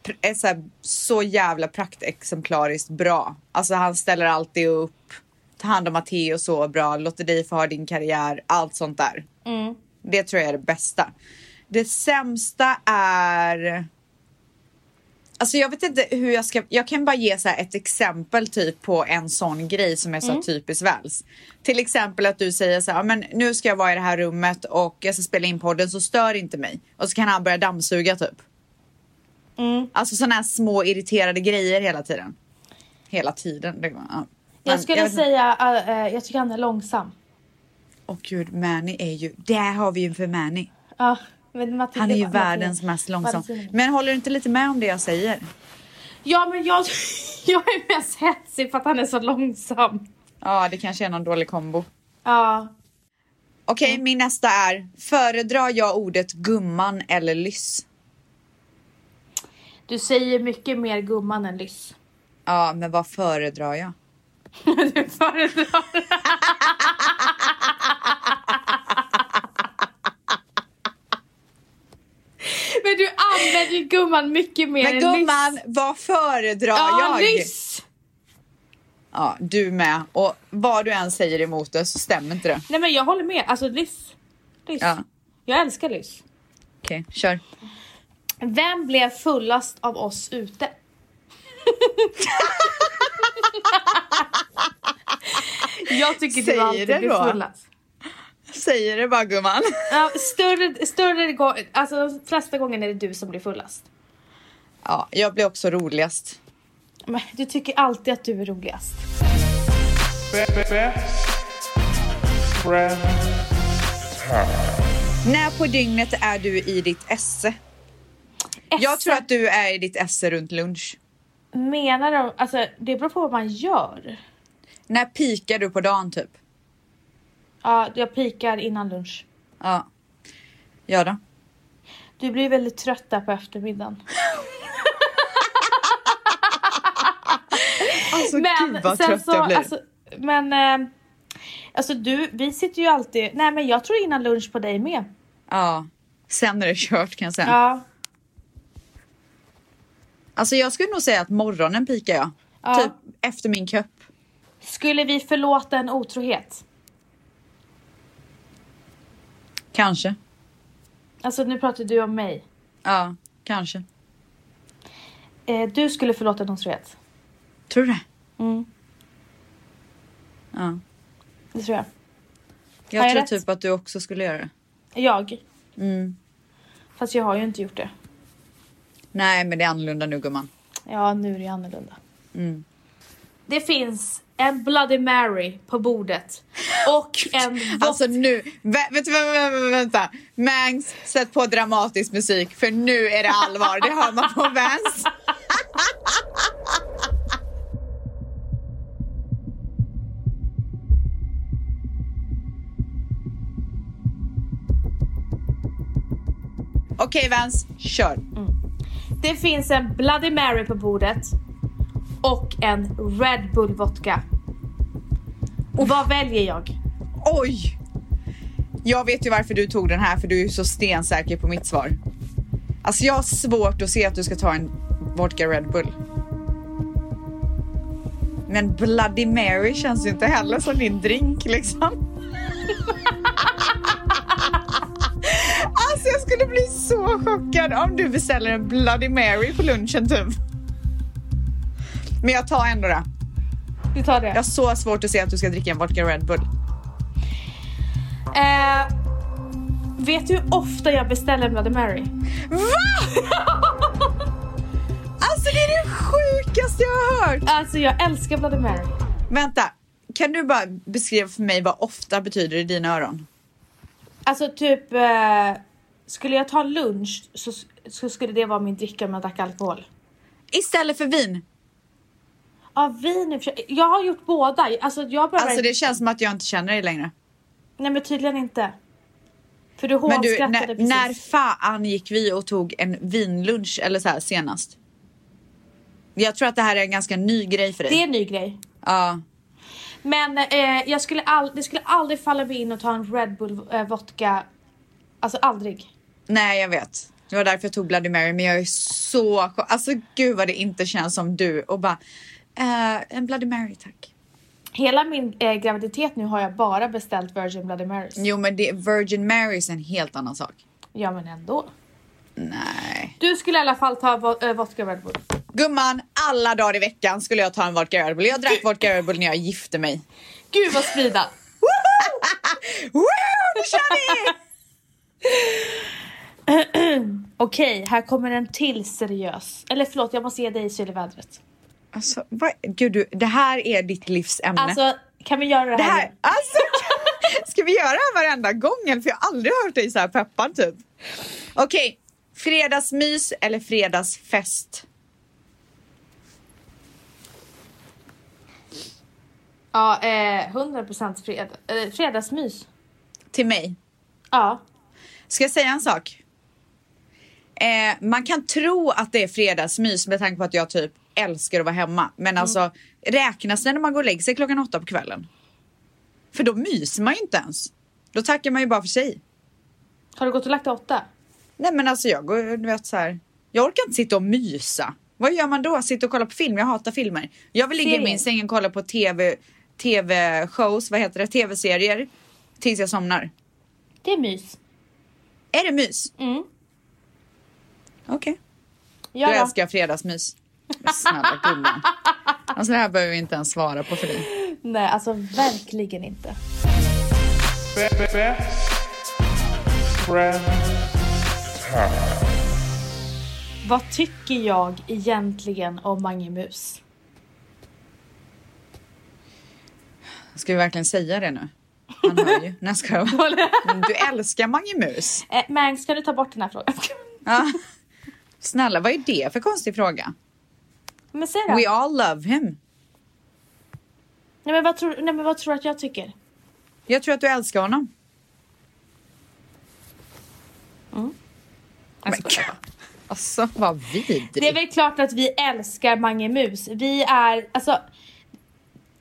[SPEAKER 1] pr- är så, här, så jävla praktexemplariskt bra. Alltså han ställer alltid upp, tar hand om Matteo så bra, låter dig få ha din karriär, allt sånt där. Det tror jag är det bästa. Det sämsta är... Alltså jag vet inte hur jag ska, jag kan bara ge så här ett exempel typ på en sån grej som är så
[SPEAKER 2] Mm.
[SPEAKER 1] här typiskt väls. Till exempel att du säger så här, "Ja, men nu ska jag vara i det här rummet och jag ska spela in podden så stör inte mig. Och så kan han börja dammsuga typ.
[SPEAKER 2] Mm.
[SPEAKER 1] Alltså sådana här små irriterade grejer hela tiden. Hela tiden. Det, ja. Men
[SPEAKER 2] Jag skulle
[SPEAKER 1] vet inte.
[SPEAKER 2] säga, eh, eh, jag tycker han är långsam.
[SPEAKER 1] Åh gud, Manny är ju, där har vi ju en för Manny.
[SPEAKER 2] Ja, men Matilda-
[SPEAKER 1] Han är ju
[SPEAKER 2] Matilda-
[SPEAKER 1] världens mest långsam.
[SPEAKER 2] Matilda.
[SPEAKER 1] Men håller du inte lite med om det jag säger?
[SPEAKER 2] Ja men jag, *laughs* jag är mest hetsig för att han är så långsam.
[SPEAKER 1] Ja, det kanske är någon dålig kombo.
[SPEAKER 2] Ja.
[SPEAKER 1] Okej,
[SPEAKER 2] Mm.
[SPEAKER 1] min nästa är föredrar jag ordet gumman eller lyss?
[SPEAKER 2] Du säger mycket mer gumman än lyss.
[SPEAKER 1] Ja, men vad föredrar jag?
[SPEAKER 2] *laughs* Du föredrar. *laughs* Men du använder ju gumman mycket mer
[SPEAKER 1] Men
[SPEAKER 2] än
[SPEAKER 1] gumman,
[SPEAKER 2] lyss.
[SPEAKER 1] vad föredrar
[SPEAKER 2] Ja,
[SPEAKER 1] jag?
[SPEAKER 2] lyss!
[SPEAKER 1] Ja, du med. Och vad du än säger emot det så stämmer inte det.
[SPEAKER 2] Nej men jag håller med, alltså lyss. lyss.
[SPEAKER 1] Ja.
[SPEAKER 2] Jag älskar lyss.
[SPEAKER 1] Okej, kör.
[SPEAKER 2] Vem blev fullast av oss ute? *laughs* jag tycker det var
[SPEAKER 1] Säg
[SPEAKER 2] alltid
[SPEAKER 1] det
[SPEAKER 2] blev
[SPEAKER 1] då.
[SPEAKER 2] fullast.
[SPEAKER 1] säger det bara *laughs* gumman.
[SPEAKER 2] Ja, större, större gång, alltså de flesta gångerna är det du som blir fullast.
[SPEAKER 1] Ja, jag blir också roligast.
[SPEAKER 2] Men du tycker alltid att du är roligast.
[SPEAKER 6] Best friends.
[SPEAKER 1] När på dygnet är du i ditt esse? Jag tror att du är i ditt esse runt lunch.
[SPEAKER 2] Menar de, alltså det beror på vad man gör.
[SPEAKER 1] När pikar du på dagen typ?
[SPEAKER 2] Ja, jag pikar innan lunch.
[SPEAKER 1] Ja. Ja då.
[SPEAKER 2] Du blir väldigt trött där på eftermiddagen.
[SPEAKER 1] Alltså gud vad
[SPEAKER 2] sen
[SPEAKER 1] trött jag blir.
[SPEAKER 2] Alltså, men eh, alltså du, vi sitter ju alltid, nej men jag tror innan lunch på dig med.
[SPEAKER 1] Ja. Sen är det kört kan jag säga.
[SPEAKER 2] Ja,
[SPEAKER 1] Alltså jag skulle nog säga att morgonen pikar jag.
[SPEAKER 2] Ja.
[SPEAKER 1] Typ efter min kopp.
[SPEAKER 2] Skulle vi förlåta en otrohet?
[SPEAKER 1] Kanske.
[SPEAKER 2] Alltså nu pratar du om mig.
[SPEAKER 1] Ja, kanske.
[SPEAKER 2] Eh, du skulle förlåta en otrohet.
[SPEAKER 1] Tror du det?
[SPEAKER 2] Mm.
[SPEAKER 1] Ja.
[SPEAKER 2] Det tror jag.
[SPEAKER 1] Jag
[SPEAKER 2] Har jag
[SPEAKER 1] tror
[SPEAKER 2] rätt?
[SPEAKER 1] typ att du också skulle göra det.
[SPEAKER 2] Jag.
[SPEAKER 1] Mm.
[SPEAKER 2] Fast jag har ju inte gjort det.
[SPEAKER 1] Nej, men det är annorlunda nu gumman.
[SPEAKER 2] Ja, nu är det annorlunda.
[SPEAKER 1] Mm.
[SPEAKER 2] Det finns en Bloody Mary på bordet. Och en vodka.
[SPEAKER 1] Alltså nu, vä- vet du vä- vä- vä- vänta. Mangs, sätt på dramatisk musik för nu är det allvar. Det hör man på Vans. Okej Vans, kör.
[SPEAKER 2] Det finns en Bloody Mary på bordet. Och en Red Bull vodka. Och vad väljer jag?
[SPEAKER 1] Oj! Jag vet ju varför du tog den här för du är ju så stensäker på mitt svar. Alltså jag har svårt att se att du ska ta en vodka Red Bull. Men Bloody Mary känns ju inte heller som din drink liksom. *laughs* Alltså jag skulle bli så chockad om du beställer en Bloody Mary på lunchen typ. Men jag tar ändå det.
[SPEAKER 2] Du tar det.
[SPEAKER 1] Jag har så svårt att se att du ska dricka en vodka Red Bull. *laughs*
[SPEAKER 2] Eh, vet du hur ofta jag beställer en
[SPEAKER 1] *laughs*
[SPEAKER 2] Bloody Mary?
[SPEAKER 1] Va? Alltså det är det sjukaste jag har hört.
[SPEAKER 2] Alltså jag älskar Bloody Mary.
[SPEAKER 1] Vänta, kan du bara beskriva för mig vad ofta betyder i dina öron?
[SPEAKER 2] Alltså typ, eh, skulle jag ta lunch så, så skulle det vara min dricka om jag drack alkohol.
[SPEAKER 1] Istället för vin.
[SPEAKER 2] Ja, vin i och för sig- Jag har gjort båda. Alltså jag behöver...
[SPEAKER 1] Alltså det känns som att jag inte känner dig längre.
[SPEAKER 2] Nej men tydligen inte. För du
[SPEAKER 1] Men du, när,
[SPEAKER 2] hånskrattade precis.
[SPEAKER 1] när fan gick vi och tog en vinlunch eller så här senast? Jag tror att det här är en ganska ny grej för dig.
[SPEAKER 2] Det är en ny grej.
[SPEAKER 1] Ja,
[SPEAKER 2] Men eh, jag skulle all... det skulle aldrig falla mig in att ta en Red Bull eh, vodka. Alltså aldrig.
[SPEAKER 1] nej jag vet. Det var därför jag tog Bloody Mary men jag är så chock- Alltså gud vad det inte känns som du och bara eh, en Bloody Mary tack.
[SPEAKER 2] Hela min eh, graviditet nu har jag bara beställt Virgin Bloody Marys.
[SPEAKER 1] Jo men det, Virgin Marys är en helt annan sak.
[SPEAKER 2] Ja men ändå.
[SPEAKER 1] Nej.
[SPEAKER 2] Du skulle i alla fall ta vo- eh, vodka Red Bull.
[SPEAKER 1] Gumman, alla dagar i veckan skulle jag ta en vodka Red Bull. Jag drack vodka Red Bull när jag gifte mig.
[SPEAKER 2] Gud vad sprida.
[SPEAKER 1] *laughs* Woo! Nu kör vi!
[SPEAKER 2] Okej, här kommer en till seriös. Eller förlåt, jag måste ge dig sylvädret.
[SPEAKER 1] Alltså, vad, gud, du, det här är ditt livs ämne.
[SPEAKER 2] Alltså, kan vi göra
[SPEAKER 1] det
[SPEAKER 2] det här?
[SPEAKER 1] här,
[SPEAKER 2] igen?
[SPEAKER 1] alltså, *laughs* ska vi göra det här varenda gång? Eller? För jag har aldrig hört dig så här peppad typ. Okej, fredagsmys eller fredagsfest?
[SPEAKER 2] Ja, eh, 100% fred, eh, fredagsmys.
[SPEAKER 1] Till mig.
[SPEAKER 2] Ja.
[SPEAKER 1] Ska jag säga en sak? Eh, man kan tro att det är fredagsmys med tanke på att jag typ älskar att vara hemma. Men
[SPEAKER 2] Mm.
[SPEAKER 1] alltså räknas det när man går och lägger sig klockan åtta på kvällen? För då myser man ju inte ens. Då tackar man ju bara för sig.
[SPEAKER 2] Har du gått och lagt dig åtta?
[SPEAKER 1] Nej men alltså jag går, du vet så här. Jag orkar inte sitta och mysa. Vad gör man då? Sitta och kolla på film? Jag hatar filmer. Jag vill ligga i
[SPEAKER 2] Serier.
[SPEAKER 1] min säng och kolla på tv, tv-shows, vad heter det, tv-serier. Tills jag somnar.
[SPEAKER 2] Det är mys.
[SPEAKER 1] Är det mys?
[SPEAKER 2] Mm.
[SPEAKER 1] Okej.
[SPEAKER 2] Ja,
[SPEAKER 1] Då
[SPEAKER 2] då.
[SPEAKER 1] älskar jag fredagsmys. Men snälla gumman. Alltså det här behöver vi inte ens svara på för dig.
[SPEAKER 2] Nej, alltså verkligen inte.
[SPEAKER 6] Be- best friends time.
[SPEAKER 2] Vad tycker jag egentligen om Mange Mus?
[SPEAKER 1] Ska vi verkligen säga det nu? Han hör ju. Nej, ska jag Du älskar Mange Mus.
[SPEAKER 2] Eh, Mang, ska du ta bort den här frågan? *laughs*
[SPEAKER 1] Ja. Snälla, vad är det för konstig fråga?
[SPEAKER 2] Men säg då.
[SPEAKER 1] We all love him.
[SPEAKER 2] Nej, men vad tror, nej, men vad tror du att jag tycker?
[SPEAKER 1] Jag tror att du älskar honom. Mm. Men, gud. alltså, vad vidrigt.
[SPEAKER 2] Det är väl klart att vi älskar Mange Mus. Vi är, alltså.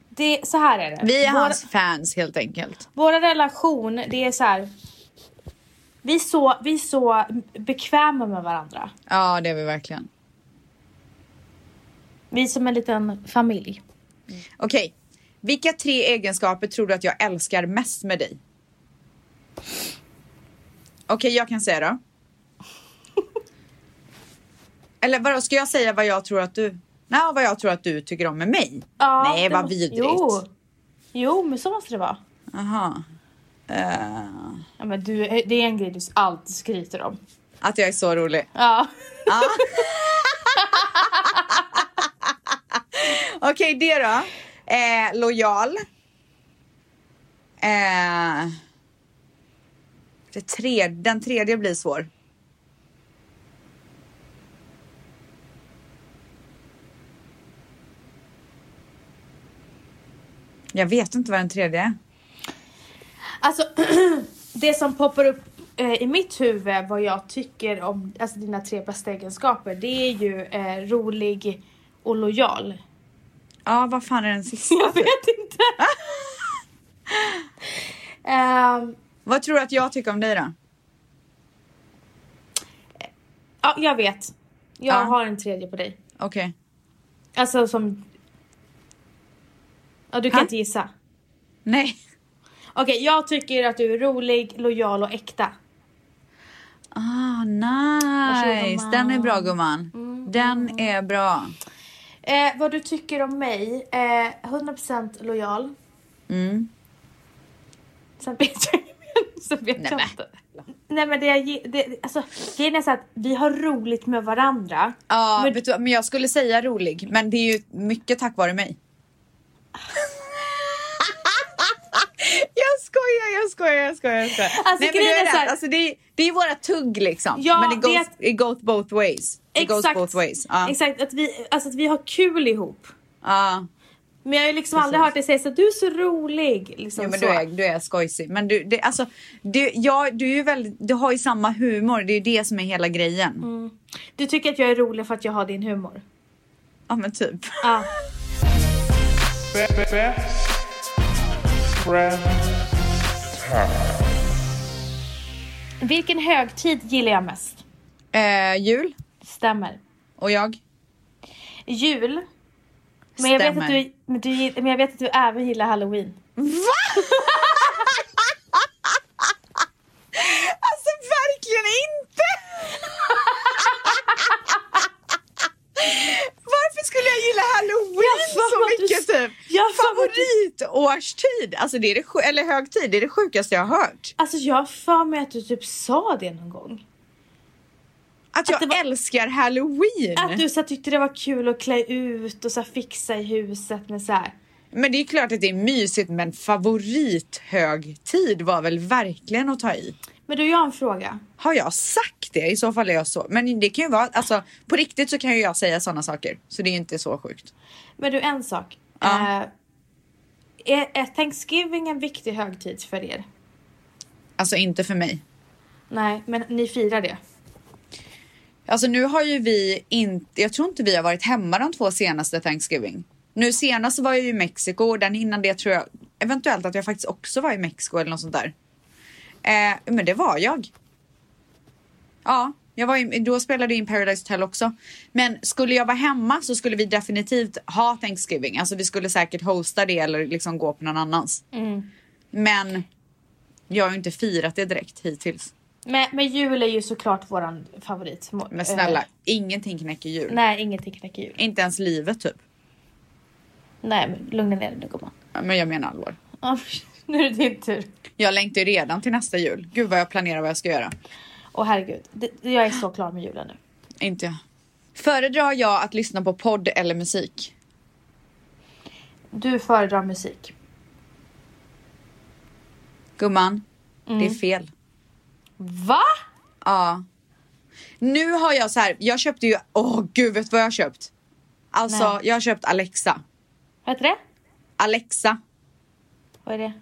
[SPEAKER 2] Det, så här är det.
[SPEAKER 1] Vi är
[SPEAKER 2] Vår-
[SPEAKER 1] hans fans helt enkelt.
[SPEAKER 2] Vår relation, det är så här. Vi är så, vi är så bekväma med varandra.
[SPEAKER 1] Ja, det är vi verkligen.
[SPEAKER 2] Vi är som en liten familj.
[SPEAKER 1] Okej, vilka tre egenskaper tror du att jag älskar mest med dig? Okej, jag kan säga
[SPEAKER 2] *laughs*
[SPEAKER 1] då. Eller vadå, ska jag säga vad jag tror att du... Nej, vad jag tror att du tycker om med mig?
[SPEAKER 2] Ja,
[SPEAKER 1] Nej,
[SPEAKER 2] det
[SPEAKER 1] vad
[SPEAKER 2] måste-
[SPEAKER 1] vidrigt.
[SPEAKER 2] Jo. jo, men så måste det vara.
[SPEAKER 1] Aha. Eh,
[SPEAKER 2] Ja, men du, det är en grej du alltid skryter om.
[SPEAKER 1] att jag är så rolig.
[SPEAKER 2] Ja.
[SPEAKER 1] Ja. Okej, det då. Eh, lojal. Eh, det tre, den tredje blir svår. Jag vet inte vad den tredje är.
[SPEAKER 2] Alltså, *clears throat* det som poppar upp eh, i mitt huvud vad jag tycker om alltså, dina tre bästa egenskaper det är ju eh, rolig och lojal. Alltså-
[SPEAKER 1] Ja, vad fan är den *laughs* sista?
[SPEAKER 2] *laughs* Jag vet inte. *laughs* Ehm,
[SPEAKER 1] Vad tror du att jag tycker om dig då?
[SPEAKER 2] ja, jag vet. Jag
[SPEAKER 1] Ja.
[SPEAKER 2] har en tredje på dig.
[SPEAKER 1] Okej.
[SPEAKER 2] Alltså som... Ja, du kan
[SPEAKER 1] Ha?
[SPEAKER 2] inte gissa.
[SPEAKER 1] Nej.
[SPEAKER 2] Okej, jag tycker att du är rolig, lojal och äkta.
[SPEAKER 1] Ah, nice. Mm.
[SPEAKER 2] Varsågod,
[SPEAKER 1] Den är bra gumman. Den är bra.
[SPEAKER 2] Eh, vad du tycker om mig? Eh, 100% lojal.
[SPEAKER 1] Mm.
[SPEAKER 2] Sen vet jag, sen vet
[SPEAKER 1] Nej,
[SPEAKER 2] jag
[SPEAKER 1] men.
[SPEAKER 2] inte. Nej men det, jag ge- det, alltså, grejen är så att vi har roligt med varandra.
[SPEAKER 1] Ja,
[SPEAKER 2] Men-
[SPEAKER 1] men... Vet du, vad, men jag skulle säga rolig. Men det är ju mycket tack vare mig. *laughs* jag skojar, jag skojar, jag skojar. Jag skojar.
[SPEAKER 2] Alltså,
[SPEAKER 1] Nej, men du
[SPEAKER 2] grejen är
[SPEAKER 1] är
[SPEAKER 2] så här-
[SPEAKER 1] rätt. Alltså, det, är, det är våra tugg liksom.
[SPEAKER 2] Ja,
[SPEAKER 1] men det goes,
[SPEAKER 2] det-
[SPEAKER 1] it goes both ways. It goes both ways. Ja.
[SPEAKER 2] exakt att, vi, alltså, att vi har kul ihop.
[SPEAKER 1] Ja.
[SPEAKER 2] Men jag har ju liksom aldrig hört dig säga så att du är så rolig. Liksom,
[SPEAKER 1] Jo, men
[SPEAKER 2] så.
[SPEAKER 1] du är, du är skojsig. Men du, det, alltså, du, ja, du, är ju väldigt, du har ju samma humor. Det är ju det som är hela grejen.
[SPEAKER 2] du tycker att jag är rolig för att jag har din humor.
[SPEAKER 1] Ja, men typ.
[SPEAKER 2] Ja.
[SPEAKER 6] Be- be- best friends time.
[SPEAKER 2] Vilken högtid gillar jag mest?
[SPEAKER 1] Eh, jul
[SPEAKER 2] Stämmer.
[SPEAKER 1] och jag.
[SPEAKER 2] Jul. Men jag, vet att
[SPEAKER 1] Stämmer.
[SPEAKER 2] du, men, du, men jag vet att du även gillar halloween.
[SPEAKER 1] Alltså verkligen
[SPEAKER 2] *laughs*
[SPEAKER 1] inte! Varför skulle jag gilla halloween
[SPEAKER 2] Jag fattar
[SPEAKER 1] så
[SPEAKER 2] att du-
[SPEAKER 1] mycket typ?
[SPEAKER 2] jag fattar att du-
[SPEAKER 1] Favoritårstid, alltså det är det, sj- eller högtid, det är det sjukaste jag har hört.
[SPEAKER 2] Alltså jag har för mig att du typ sa det någon gång.
[SPEAKER 1] Att jag
[SPEAKER 2] det var-
[SPEAKER 1] älskar halloween.
[SPEAKER 2] Att du så här, tyckte det var kul att klä ut och så här, fixa i huset med så här.
[SPEAKER 1] Men det är klart att det är mysigt men favorithögtid var väl verkligen att ta i.
[SPEAKER 2] Men du, jag har en fråga.
[SPEAKER 1] Har jag sagt det? I så fall är jag så. Men det kan ju vara, alltså på riktigt så kan ju jag säga sådana saker. Så det är ju inte så sjukt.
[SPEAKER 2] Men du, en sak. Eh, är, är Thanksgiving en viktig högtid för er?
[SPEAKER 1] Alltså inte för mig.
[SPEAKER 2] Nej, men ni firar det.
[SPEAKER 1] Alltså nu har ju vi inte, jag tror inte vi har varit hemma de två senaste Thanksgiving. Nu senast var jag ju i Mexiko och den innan det tror jag eventuellt att jag faktiskt också var i Mexiko eller något sånt där. Eh, men det var jag. Ja, jag var i, då spelade jag in Paradise Hotel också. Men skulle jag vara hemma så skulle vi definitivt ha Thanksgiving. Alltså vi skulle säkert hosta det eller liksom gå på någon annans. Men jag har ju inte firat det direkt hittills.
[SPEAKER 2] Men, men jul är ju såklart våran favorit. Må-
[SPEAKER 1] Men snälla,
[SPEAKER 2] eh,
[SPEAKER 1] ingenting knäcker jul.
[SPEAKER 2] nej, ingenting knäcker jul.
[SPEAKER 1] Inte ens livet typ.
[SPEAKER 2] Nej, men lugna ner dig nu gumman.
[SPEAKER 1] Ja, Men jag menar allvar.
[SPEAKER 2] Ja. *laughs* Nu är det din tur.
[SPEAKER 1] Jag längtar ju redan till nästa jul. Gud vad jag planerar vad jag ska göra.
[SPEAKER 2] Åh herregud, Det- jag är så klar med julen nu.
[SPEAKER 1] Inte jag. Föredrar jag att lyssna på podd eller musik?
[SPEAKER 2] Du föredrar musik.
[SPEAKER 1] Gumman, det är fel.
[SPEAKER 2] Va?
[SPEAKER 1] Ja. Nu har jag så här, jag köpte ju, åh gud vet du vad jag har köpt? Alltså
[SPEAKER 2] Nej.
[SPEAKER 1] jag har köpt Alexa.
[SPEAKER 2] Vad heter det?
[SPEAKER 1] Alexa,
[SPEAKER 2] Vad är det?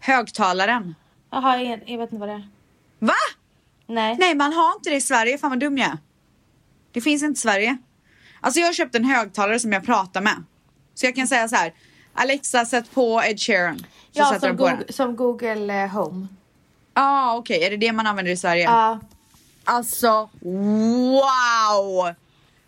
[SPEAKER 1] högtalaren.
[SPEAKER 2] Jaha, jag, jag vet inte vad det är.
[SPEAKER 1] Va?
[SPEAKER 2] Nej.
[SPEAKER 1] Nej man har inte det i Sverige, fan vad dum jag är. Det finns inte i Sverige. Alltså jag har köpt en högtalare som jag pratar med. Så jag kan säga så här, Alexa sätt på Ed Sheeran. Så
[SPEAKER 2] ja,
[SPEAKER 1] sätter
[SPEAKER 2] som,
[SPEAKER 1] den på den.
[SPEAKER 2] Goog- som Google eh, Home.
[SPEAKER 1] Ja okej, är det det man använder i Sverige?
[SPEAKER 2] Ja.
[SPEAKER 1] Alltså wow!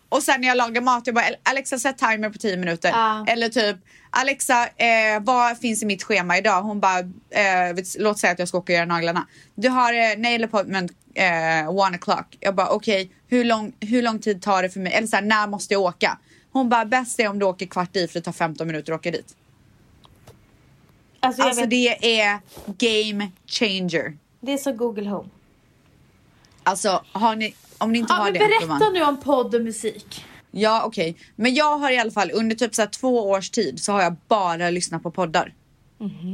[SPEAKER 1] Och sen när jag lagar mat, jag bara Alexa sätt timer på 10 minuter.
[SPEAKER 2] Ja.
[SPEAKER 1] Eller typ Alexa, eh, vad finns i mitt schema idag? Hon bara, eh, vet- låt säga att jag ska åka och göra naglarna. Du har eh, nail appointment eh, one o'clock. Jag bara okej, hur, lång, hur lång tid tar det för mig? Eller så här, när måste jag åka? Hon bara, bäst är om du åker kvart i för det tar 15 minuter att åka dit.
[SPEAKER 2] Alltså, jag
[SPEAKER 1] Alltså
[SPEAKER 2] vet, det...
[SPEAKER 1] det är game changer.
[SPEAKER 2] är som Google Home.
[SPEAKER 1] Alltså har ni, om ni inte
[SPEAKER 2] Ja,
[SPEAKER 1] har
[SPEAKER 2] men
[SPEAKER 1] det. gumman.
[SPEAKER 2] berätta nu om podd och musik.
[SPEAKER 1] Ja, okej. Men jag har i alla fall under typ så här två års tid så har jag bara lyssnat på poddar.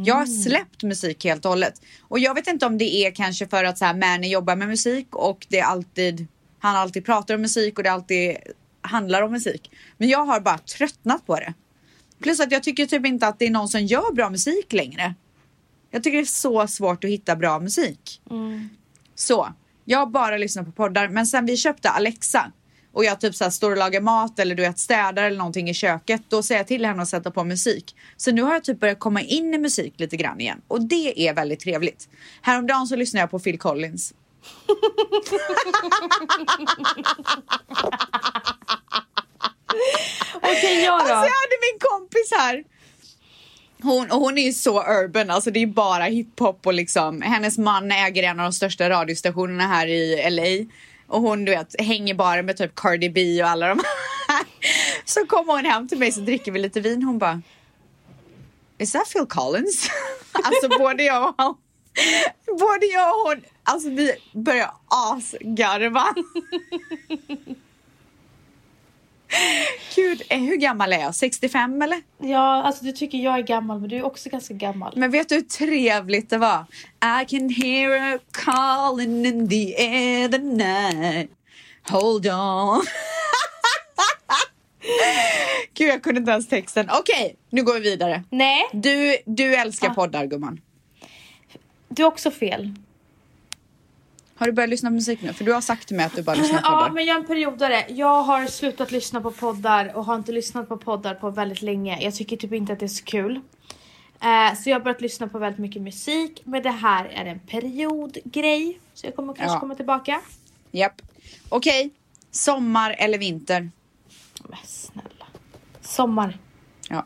[SPEAKER 1] Jag har släppt musik helt och hållet. Och jag vet inte om det är kanske för att så här Mani jobbar med musik och det är alltid, han alltid pratar om musik och det alltid handlar om musik. Men jag har bara tröttnat på det. Plus att jag tycker typ inte att det är någon som gör bra musik längre. Jag tycker det är så svårt att hitta bra musik. Så, jag bara lyssnar på poddar. Men sen vi köpte Alexa och jag typ så här står och lagar mat eller du vet städar eller någonting i köket. Då säger jag till henne att sätta på musik. Så nu har jag typ börjat komma in i musik lite grann igen. Och det är väldigt trevligt. Häromdagen så lyssnade jag på Phil Collins.
[SPEAKER 2] Okej, jag då?
[SPEAKER 1] Alltså jag hade min kompis här. Hon, och hon är ju så urban, alltså det är bara hiphop och liksom hennes man äger en av de största radiostationerna här i LA. Och hon du vet hänger bara med typ Cardi B och alla de här. *laughs* Så kom hon hem till mig så dricker vi lite vin, hon bara Is that Phil Collins? *laughs* alltså både jag och hon, både jag och hon, alltså vi börjar asgarva. *laughs* Gud, eh, hur gammal är jag? 65 eller?
[SPEAKER 2] Ja, alltså du tycker jag är gammal, men du är också ganska gammal.
[SPEAKER 1] Men vet du hur trevligt det var? I can hear her calling in the air the night Hold on *laughs* Gud, jag kunde inte ens texten. Okej, nu går vi vidare.
[SPEAKER 2] Nej,
[SPEAKER 1] Du, du älskar
[SPEAKER 2] Ah.
[SPEAKER 1] poddar, gumman.
[SPEAKER 2] du är också fel.
[SPEAKER 1] Har du börjat lyssna på musik nu? För du har sagt till mig att du bara lyssnar på
[SPEAKER 2] *laughs* Ja,
[SPEAKER 1] poddar.
[SPEAKER 2] men jag är en periodare. Jag har slutat lyssna på poddar och har inte lyssnat på poddar på väldigt länge. Jag tycker typ inte att det är så kul. Eh, så jag har börjat lyssna på väldigt mycket musik. Men det här är en periodgrej. Så jag kommer kanske
[SPEAKER 1] Ja.
[SPEAKER 2] komma tillbaka.
[SPEAKER 1] Japp. Okej, sommar eller vinter?
[SPEAKER 2] Men snälla. Sommar.
[SPEAKER 1] Ja.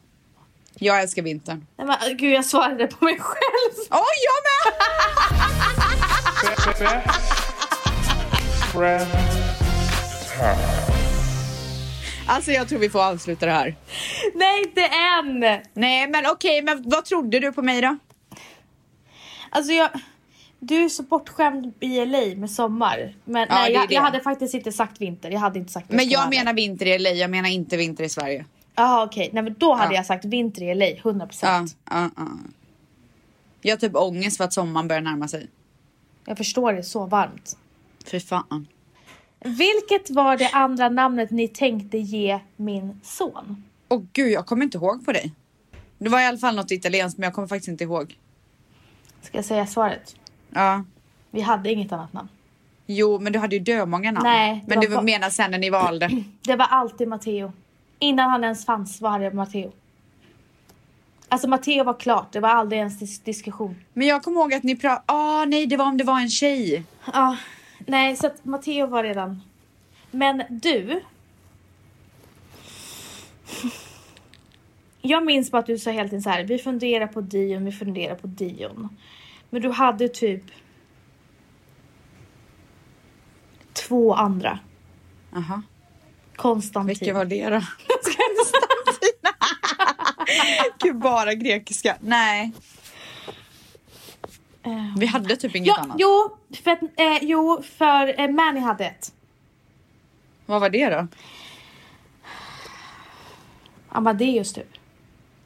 [SPEAKER 1] Jag älskar vintern.
[SPEAKER 2] Nej, men, gud, jag svarade på mig själv. *laughs*
[SPEAKER 1] Åh, jag med! Alltså, jag tror vi får avsluta det här.
[SPEAKER 2] Nej, inte än!
[SPEAKER 1] Nej, men okej, men vad trodde du på mig då?
[SPEAKER 2] Alltså jag... Du är så bortskämd i LA med sommar. Men
[SPEAKER 1] Ja,
[SPEAKER 2] nej,
[SPEAKER 1] det är
[SPEAKER 2] jag,
[SPEAKER 1] det.
[SPEAKER 2] jag hade faktiskt inte sagt vinter. Jag hade inte sagt det,
[SPEAKER 1] Men
[SPEAKER 2] ska
[SPEAKER 1] jag
[SPEAKER 2] vara ärlig.
[SPEAKER 1] menar vinter i LA, jag menar inte vinter i Sverige.
[SPEAKER 2] Jaha okej, nej men då hade
[SPEAKER 1] Ja.
[SPEAKER 2] jag sagt vinter i LA, 100%.
[SPEAKER 1] Ja, ja, ja. Jag har typ ångest för att sommaren börjar närma sig.
[SPEAKER 2] Jag förstår det, så varmt.
[SPEAKER 1] Fy fan.
[SPEAKER 2] Vilket var det andra namnet ni tänkte ge min son?
[SPEAKER 1] Åh gud, jag kommer inte ihåg på dig. Det var i alla fall något italienskt, men jag kommer faktiskt inte ihåg.
[SPEAKER 2] Ska jag säga svaret?
[SPEAKER 1] Ja.
[SPEAKER 2] Vi hade inget annat namn.
[SPEAKER 1] Jo, men du hade ju dömånga namn.
[SPEAKER 2] Nej, det
[SPEAKER 1] men
[SPEAKER 2] var
[SPEAKER 1] du
[SPEAKER 2] ba-
[SPEAKER 1] menar sen när ni *clears throat* valde.
[SPEAKER 2] Det var alltid Matteo. Innan han ens fanns var det Matteo. Alltså Matteo var klart, det var aldrig ens dis- diskussion.
[SPEAKER 1] Men jag kommer ihåg att ni pratade... Ah, nej, det var om det var en tjej.
[SPEAKER 2] Ja, nej så att Matteo var redan... Men du... Jag minns bara att du sa helt enkelt så här, vi funderar på Dion, vi funderar på Dion. Men du hade typ... Två andra.
[SPEAKER 1] Jaha,
[SPEAKER 2] Konstantin.
[SPEAKER 1] vilka var det då? *laughs* Konstantina. gud, bara grekiska. Nej. Vi hade typ inget
[SPEAKER 2] Ja,
[SPEAKER 1] annat.
[SPEAKER 2] jo, för, att, eh, jo, för eh, Manny hade ett.
[SPEAKER 1] Vad var det då?
[SPEAKER 2] Amadeus typ.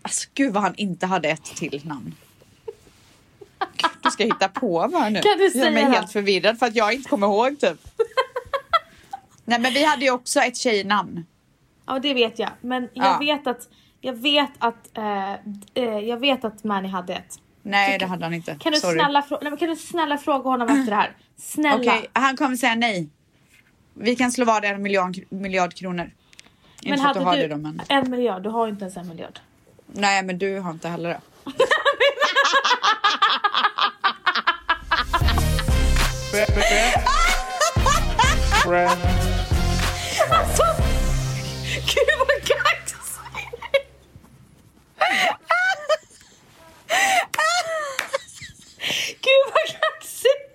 [SPEAKER 1] Alltså gud vad han inte hade ett till namn. Gud, Du ska hitta på va nu.
[SPEAKER 2] Kan du
[SPEAKER 1] Gör mig
[SPEAKER 2] säga det?
[SPEAKER 1] helt förvirrad för att jag inte kommer ihåg typ. Nej men vi hade ju också ett tjejnamn.
[SPEAKER 2] Ja men det vet jag. Men jag
[SPEAKER 1] Ja.
[SPEAKER 2] vet att, jag vet att, eh, d- eh, jag vet att Manny hade ett.
[SPEAKER 1] Nej det hade han inte.
[SPEAKER 2] Kan du,
[SPEAKER 1] Sorry.
[SPEAKER 2] snälla, frå- nej, men kan du snälla fråga honom efter det här? Snälla.
[SPEAKER 1] Okej, han kommer säga nej. Vi kan slå vad det är en miljard, miljard kronor. Inte
[SPEAKER 2] men
[SPEAKER 1] för att du
[SPEAKER 2] hade
[SPEAKER 1] har
[SPEAKER 2] du
[SPEAKER 1] det då men.
[SPEAKER 2] en miljard? Du har ju inte ens en miljard.
[SPEAKER 1] Nej men du har inte heller det.
[SPEAKER 6] Best friends.
[SPEAKER 1] Gud vad kaxigt!
[SPEAKER 2] Gud vad kaxigt!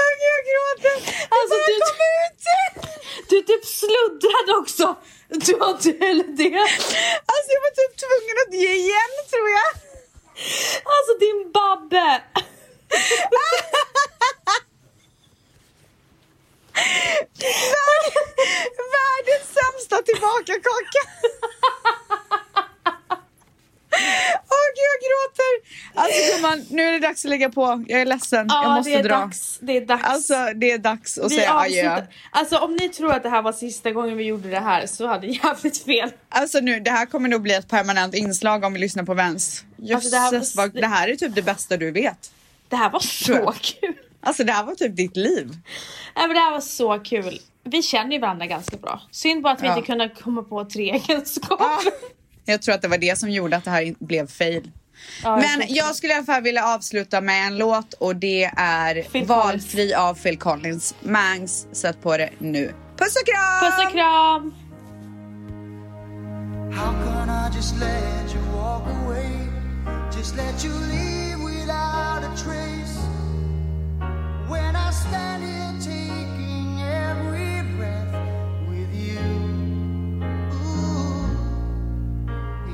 [SPEAKER 1] Åh, gud, Jag gråter!
[SPEAKER 2] Alltså,
[SPEAKER 1] jag
[SPEAKER 2] du-
[SPEAKER 1] bara kom ut!
[SPEAKER 2] Du typ sluddrade också. Du har inte heller det.
[SPEAKER 1] Alltså jag var typ tvungen att ge igen tror jag.
[SPEAKER 2] Alltså din babbe.
[SPEAKER 1] Vär- Världens sämsta tillbakakaka! Åh gud jag gråter! Alltså gumman, nu är det dags att lägga på. Jag är ledsen, jag måste
[SPEAKER 2] det är
[SPEAKER 1] dra.
[SPEAKER 2] dags. Det är dags.
[SPEAKER 1] Alltså det är dags att
[SPEAKER 2] vi
[SPEAKER 1] säga adjö.
[SPEAKER 2] avslutar. Alltså om ni tror att det här var sista gången vi gjorde det här så hade ni jävligt fel.
[SPEAKER 1] Alltså nu, det här kommer nog bli ett permanent inslag om vi lyssnar på Vens.
[SPEAKER 2] Alltså,
[SPEAKER 1] Jösses,
[SPEAKER 2] det här var
[SPEAKER 1] vad,
[SPEAKER 2] sli-
[SPEAKER 1] det här är typ det bästa du vet.
[SPEAKER 2] Det här var så
[SPEAKER 1] jag.
[SPEAKER 2] kul.
[SPEAKER 1] Alltså det här var typ ditt liv.
[SPEAKER 2] Nej, men det här var så kul. Vi känner ju varandra ganska bra. Synd bara att vi
[SPEAKER 1] Ja. Ah.
[SPEAKER 2] inte kunde komma på tre
[SPEAKER 1] Ja.
[SPEAKER 2] egenskaper.
[SPEAKER 1] Jag tror att det var det som gjorde att det här in- blev fail.
[SPEAKER 2] Ja,
[SPEAKER 1] Men
[SPEAKER 2] tror-
[SPEAKER 1] jag skulle i alla fall vilja avsluta med en låt och det är
[SPEAKER 2] Phil
[SPEAKER 1] Valfri av Phil Collins. Mangs, sätt på det nu. Puss och kram!
[SPEAKER 2] Puss och kram!
[SPEAKER 7] How can I just let you walk away? Just let you leave without a trace. When I stand here taking every breath with you, Ooh.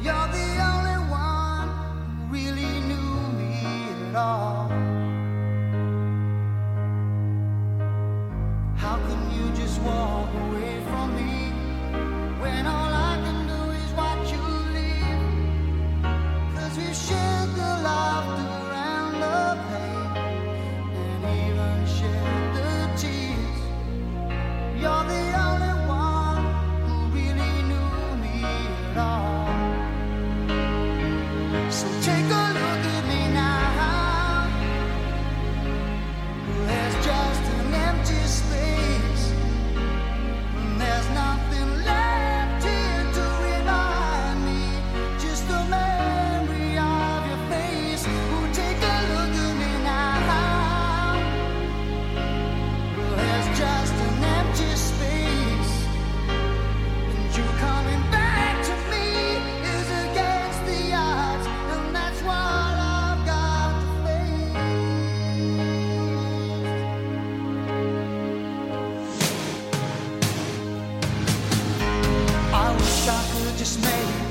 [SPEAKER 7] you're the only one who really knew me at all. How can you just walk away from me? When all I can do is watch you leave Cause we shared the laughter and the pain And even shared the tears You're the only one who really knew me at all So take a look at me now There's just an empty space there's nothing left here to remind me. Just a memory of your face. Oh, take a look at me now. Well, there's just an empty space, and you coming back to me is against the odds, and that's what I've got to face. I wish I could just make